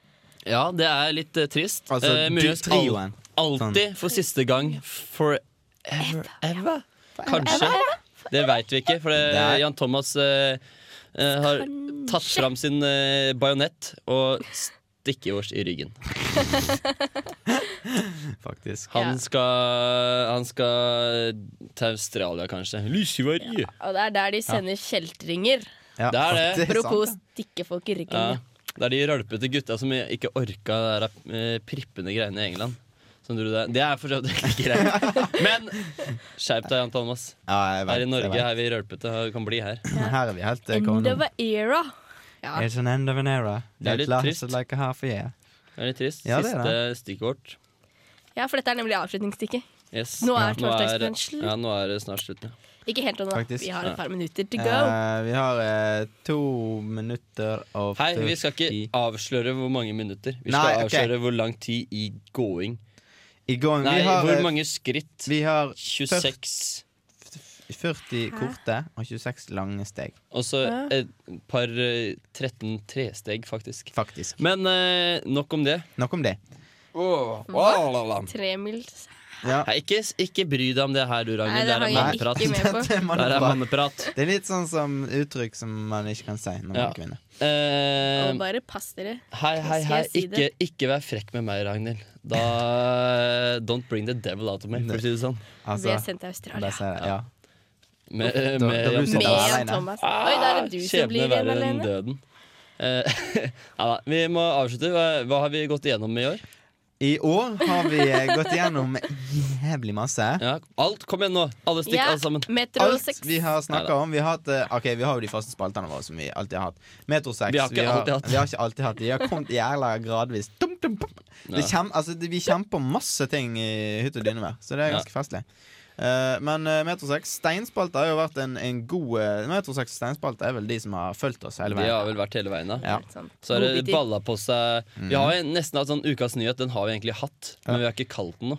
[SPEAKER 2] Ja, det er litt eh, trist.
[SPEAKER 4] Altså,
[SPEAKER 2] Eh,
[SPEAKER 4] du-
[SPEAKER 2] muligens al-
[SPEAKER 4] trioen. sånn-
[SPEAKER 2] Alltid for siste gang. Forever. Ever. Kanskje. Det veit vi ikke, for det,
[SPEAKER 4] Nei.
[SPEAKER 2] Jan Thomas eh, eh, har tatt fram sin eh, bajonett og stikkejords i ryggen.
[SPEAKER 4] Faktisk.
[SPEAKER 2] Han skal, han skal til Australia, kanskje. Lyseverje!
[SPEAKER 1] Og det er der de sender kjeltringer.
[SPEAKER 2] Ja, Det er det.
[SPEAKER 1] Apropos
[SPEAKER 2] sant,
[SPEAKER 1] stikke folk i ryggen.
[SPEAKER 2] Ja.
[SPEAKER 1] Ja.
[SPEAKER 2] Det er de rølpete gutta som ikke orka det der, eh, prippende greiene i England. Som dro der. Det er for så vidt ikke greit. Men skjerp deg, Jan Thomas.
[SPEAKER 4] jeg vet,
[SPEAKER 2] her i Norge
[SPEAKER 4] jeg vet.
[SPEAKER 2] er vi rølpete. og Kan bli her.
[SPEAKER 4] Her er vi helt eh,
[SPEAKER 1] End
[SPEAKER 4] kongen.
[SPEAKER 1] of an era. Ja.
[SPEAKER 4] It's an end of an era.
[SPEAKER 2] Det er litt
[SPEAKER 4] That
[SPEAKER 2] trist.
[SPEAKER 4] lasted Like a half a year.
[SPEAKER 2] Det er litt trist.
[SPEAKER 4] Ja, det er
[SPEAKER 2] Siste stikkord.
[SPEAKER 1] ja, for dette er nemlig avslutningsstikket.
[SPEAKER 2] Yes.
[SPEAKER 1] Nå er
[SPEAKER 2] nå er,
[SPEAKER 1] torsdagsbrunsj slutt.
[SPEAKER 2] ja, nå er det snart slutt. Ja.
[SPEAKER 1] Ikke helt ennå.
[SPEAKER 4] Faktisk.
[SPEAKER 1] Vi har et par minutter to go.
[SPEAKER 4] Eh, vi har eh, to minutter og
[SPEAKER 2] Hei, vi skal ikke avsløre hvor mange minutter. Vi skal
[SPEAKER 4] Nei, ok.
[SPEAKER 2] avsløre hvor lang tid i going.
[SPEAKER 4] I going,
[SPEAKER 2] Nei,
[SPEAKER 4] vi har,
[SPEAKER 2] hvor
[SPEAKER 4] eh,
[SPEAKER 2] mange skritt?
[SPEAKER 4] Vi har
[SPEAKER 2] 26.
[SPEAKER 4] 40 korte og 26 lange steg.
[SPEAKER 2] Og så
[SPEAKER 4] Ja.
[SPEAKER 2] et par eh, 13 tresteg, faktisk.
[SPEAKER 4] Faktisk.
[SPEAKER 2] Men eh, nok om det.
[SPEAKER 4] Nok om det. Eh,
[SPEAKER 1] Tremils.
[SPEAKER 2] Nei, ikke, ikke bry deg om det her, du,
[SPEAKER 1] Nei,
[SPEAKER 2] Ragnhild.
[SPEAKER 1] det
[SPEAKER 2] Der er
[SPEAKER 1] har jeg
[SPEAKER 2] manneprat.
[SPEAKER 1] ikke med på.
[SPEAKER 2] Der er manneprat.
[SPEAKER 4] Det er litt sånn som uttrykk som man ikke kan si når man
[SPEAKER 2] Ja.
[SPEAKER 4] er kvinne.
[SPEAKER 2] Eh,
[SPEAKER 1] Og bare pass dere.
[SPEAKER 2] hei, hei,
[SPEAKER 1] Skal
[SPEAKER 2] hei.
[SPEAKER 1] jeg si
[SPEAKER 2] Ikke,
[SPEAKER 1] det?
[SPEAKER 2] ikke vær frekk med meg, Ragnhild. Da Don't bring the devil out of me, for å si det sånn.
[SPEAKER 1] Altså, Vi er sendt til Australia.
[SPEAKER 4] det sier jeg, ja.
[SPEAKER 2] Med,
[SPEAKER 4] Da- da
[SPEAKER 2] med,
[SPEAKER 4] blir du
[SPEAKER 1] Med Jan Thomas. Oi, da er det du som blir
[SPEAKER 2] Skjebne
[SPEAKER 1] igjen
[SPEAKER 2] verre enn
[SPEAKER 1] alene.
[SPEAKER 2] døden. Eh, ja, da, vi må avslutte. Hva, hva har vi gått igjennom i år?
[SPEAKER 4] I år har vi eh, gått igjennom jævlig masse.
[SPEAKER 2] Ja, alt. Kom igjen nå. Alle stikk, alle sammen.
[SPEAKER 4] Alt vi har snakka om. Vi har, hatt, eh, ok, vi har jo de faste spaltene våre som vi alltid har hatt. Metro 6.
[SPEAKER 2] Vi har ikke alltid hatt.
[SPEAKER 4] vi har ikke alltid hatt de. De har kommet jævla gradvis. Dum, dum, dum. Det
[SPEAKER 2] Ja.
[SPEAKER 4] kjem, altså, det, vi kjemper masse ting i hytt og dynevær, så det er
[SPEAKER 2] Ja.
[SPEAKER 4] ganske festlig. Eh, men eh, Metro 6 Steinspalte har jo vært en, en god eh, Metro 6 Steinspalte er vel de som har fulgt oss
[SPEAKER 2] De
[SPEAKER 4] hele veien.
[SPEAKER 2] har vel vært hele veien, da.
[SPEAKER 1] Sånn.
[SPEAKER 4] Ja. Mm.
[SPEAKER 2] Så har det
[SPEAKER 4] Godbiter.
[SPEAKER 2] balla på seg Vi har jo nesten hatt sånn Ukas nyhet, den har vi egentlig hatt, men vi har ikke kalt den noe.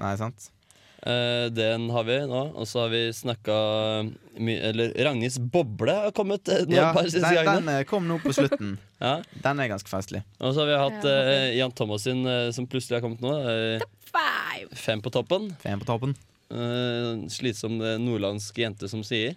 [SPEAKER 1] Nei.
[SPEAKER 4] sant
[SPEAKER 2] Eh, Den har vi nå, og så har vi snakka mye Eller Ragnhilds boble har kommet eh, nå
[SPEAKER 4] Ja,
[SPEAKER 2] et par siste
[SPEAKER 4] den,
[SPEAKER 2] gangene.
[SPEAKER 4] den eh, kom nå på slutten.
[SPEAKER 2] Ja.
[SPEAKER 4] Den er ganske festlig.
[SPEAKER 2] Og så har vi hatt
[SPEAKER 4] Ja,
[SPEAKER 2] eh, Jan Thomas sin, eh, som plutselig har kommet nå. eh, Fem på toppen.
[SPEAKER 4] Fem på toppen.
[SPEAKER 2] Eh, slitsom eh, nordlandsk jente som sier.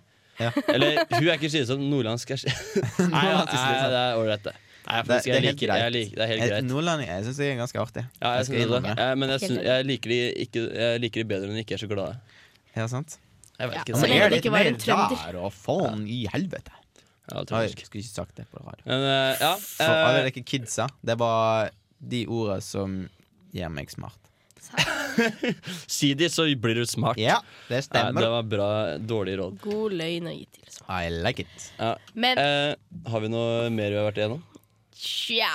[SPEAKER 2] Eller hun er ikke slitsom, nordlandsk er slitsom. Nei, ja,
[SPEAKER 4] Nordlandsk er
[SPEAKER 2] nei,
[SPEAKER 4] slitsom.
[SPEAKER 2] det er ålreit, det. Nei, faktisk,
[SPEAKER 4] Det, det er
[SPEAKER 2] jeg
[SPEAKER 4] helt
[SPEAKER 2] liker, jeg liker, det er helt
[SPEAKER 4] Eh,
[SPEAKER 2] greit.
[SPEAKER 4] Nordlending jeg syns jeg er ganske artig.
[SPEAKER 2] Ja, jeg
[SPEAKER 4] skal
[SPEAKER 2] synes det.
[SPEAKER 4] innrømme
[SPEAKER 2] Ja, men jeg, synes,
[SPEAKER 1] Helt
[SPEAKER 2] jeg, liker de ikke, jeg liker de bedre når de ikke er så glade.
[SPEAKER 4] Ja, sant?
[SPEAKER 2] Jeg vet
[SPEAKER 1] Ja,
[SPEAKER 2] ikke.
[SPEAKER 1] så
[SPEAKER 2] det.
[SPEAKER 1] lenge det ikke var en trønder.
[SPEAKER 4] Der og faen i helvete.
[SPEAKER 2] Ja,
[SPEAKER 4] Oi, jeg skulle ikke sagt det på radio.
[SPEAKER 2] Men, eh, ja,
[SPEAKER 4] For alle
[SPEAKER 2] eh,
[SPEAKER 4] dere kidsa, det var de ordene som gjør meg smart.
[SPEAKER 2] si de, så blir du smart.
[SPEAKER 4] Ja, det
[SPEAKER 1] stemmer.
[SPEAKER 2] det var bra, dårlig råd.
[SPEAKER 1] God løgn å gi til.
[SPEAKER 4] I like it.
[SPEAKER 2] Ja.
[SPEAKER 1] Men-
[SPEAKER 2] eh, har vi noe mer vi har vært igjennom?
[SPEAKER 1] Tja.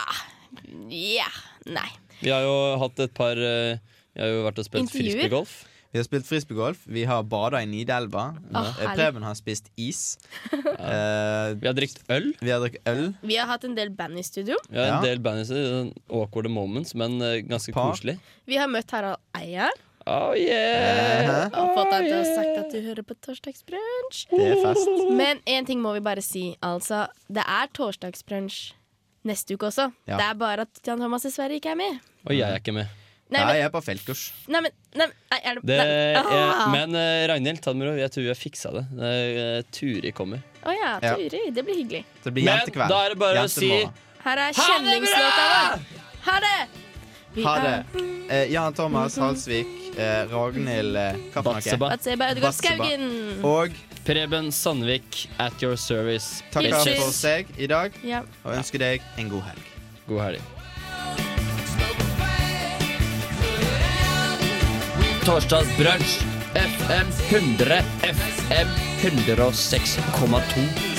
[SPEAKER 1] Ja. Nei.
[SPEAKER 2] Vi har jo hatt et par eh, Vi har jo vært og spilt
[SPEAKER 1] Intervjuer.
[SPEAKER 2] frisbeegolf.
[SPEAKER 4] Vi har spilt frisbeegolf. Vi har bada i Nidelva.
[SPEAKER 1] Åh,
[SPEAKER 4] Eh,
[SPEAKER 1] herlig.
[SPEAKER 4] Preben har spist is. vi
[SPEAKER 2] har drukket øl.
[SPEAKER 4] Vi har drukket øl.
[SPEAKER 1] Vi har hatt en del band i studio.
[SPEAKER 2] Vi har en del bands i sånn awkward moments, men eh, ganske koselig.
[SPEAKER 1] Vi har møtt Harald Eia.
[SPEAKER 2] Oh
[SPEAKER 4] Eh.
[SPEAKER 2] yeah!
[SPEAKER 1] Og fått deg til å ha sagt at du hører på Torsdagsbrunsj.
[SPEAKER 2] Det er fest.
[SPEAKER 1] Men én ting må vi bare si. Altså, det er Torsdagsbrunsj neste uke også.
[SPEAKER 2] Ja.
[SPEAKER 1] Det er bare at Jan Thomas dessverre ikke er med.
[SPEAKER 2] Og jeg er ikke med.
[SPEAKER 1] Nei, men- Nei,
[SPEAKER 4] jeg er på feltkurs.
[SPEAKER 1] Nei, men nei, nei, er det,
[SPEAKER 2] Det
[SPEAKER 1] nei.
[SPEAKER 2] er,
[SPEAKER 1] Ah.
[SPEAKER 2] men eh, Ragnhild Tadmero, jeg tror vi har fiksa det. Eh, Turi kommer.
[SPEAKER 1] Å ja,
[SPEAKER 2] Ja.
[SPEAKER 1] Turi. Det blir hyggelig.
[SPEAKER 2] men da er det bare å si
[SPEAKER 1] Her er kjenningslåta vår. Ha det! Vi
[SPEAKER 4] Ha
[SPEAKER 1] er-
[SPEAKER 4] det. Eh, Jan Thomas Halsvik, eh, Ragnhild eh, hva for noe?
[SPEAKER 2] Batseba.
[SPEAKER 1] Batseba Ødegaard Skaugen.
[SPEAKER 4] Og
[SPEAKER 2] Preben Sandvik at your service.
[SPEAKER 4] takker
[SPEAKER 2] Bitches.
[SPEAKER 4] for seg i dag,
[SPEAKER 1] Ja.
[SPEAKER 4] og ønsker deg en god helg.
[SPEAKER 2] God helg. Torsdagsbrunsj. FM 100. FM 106,2.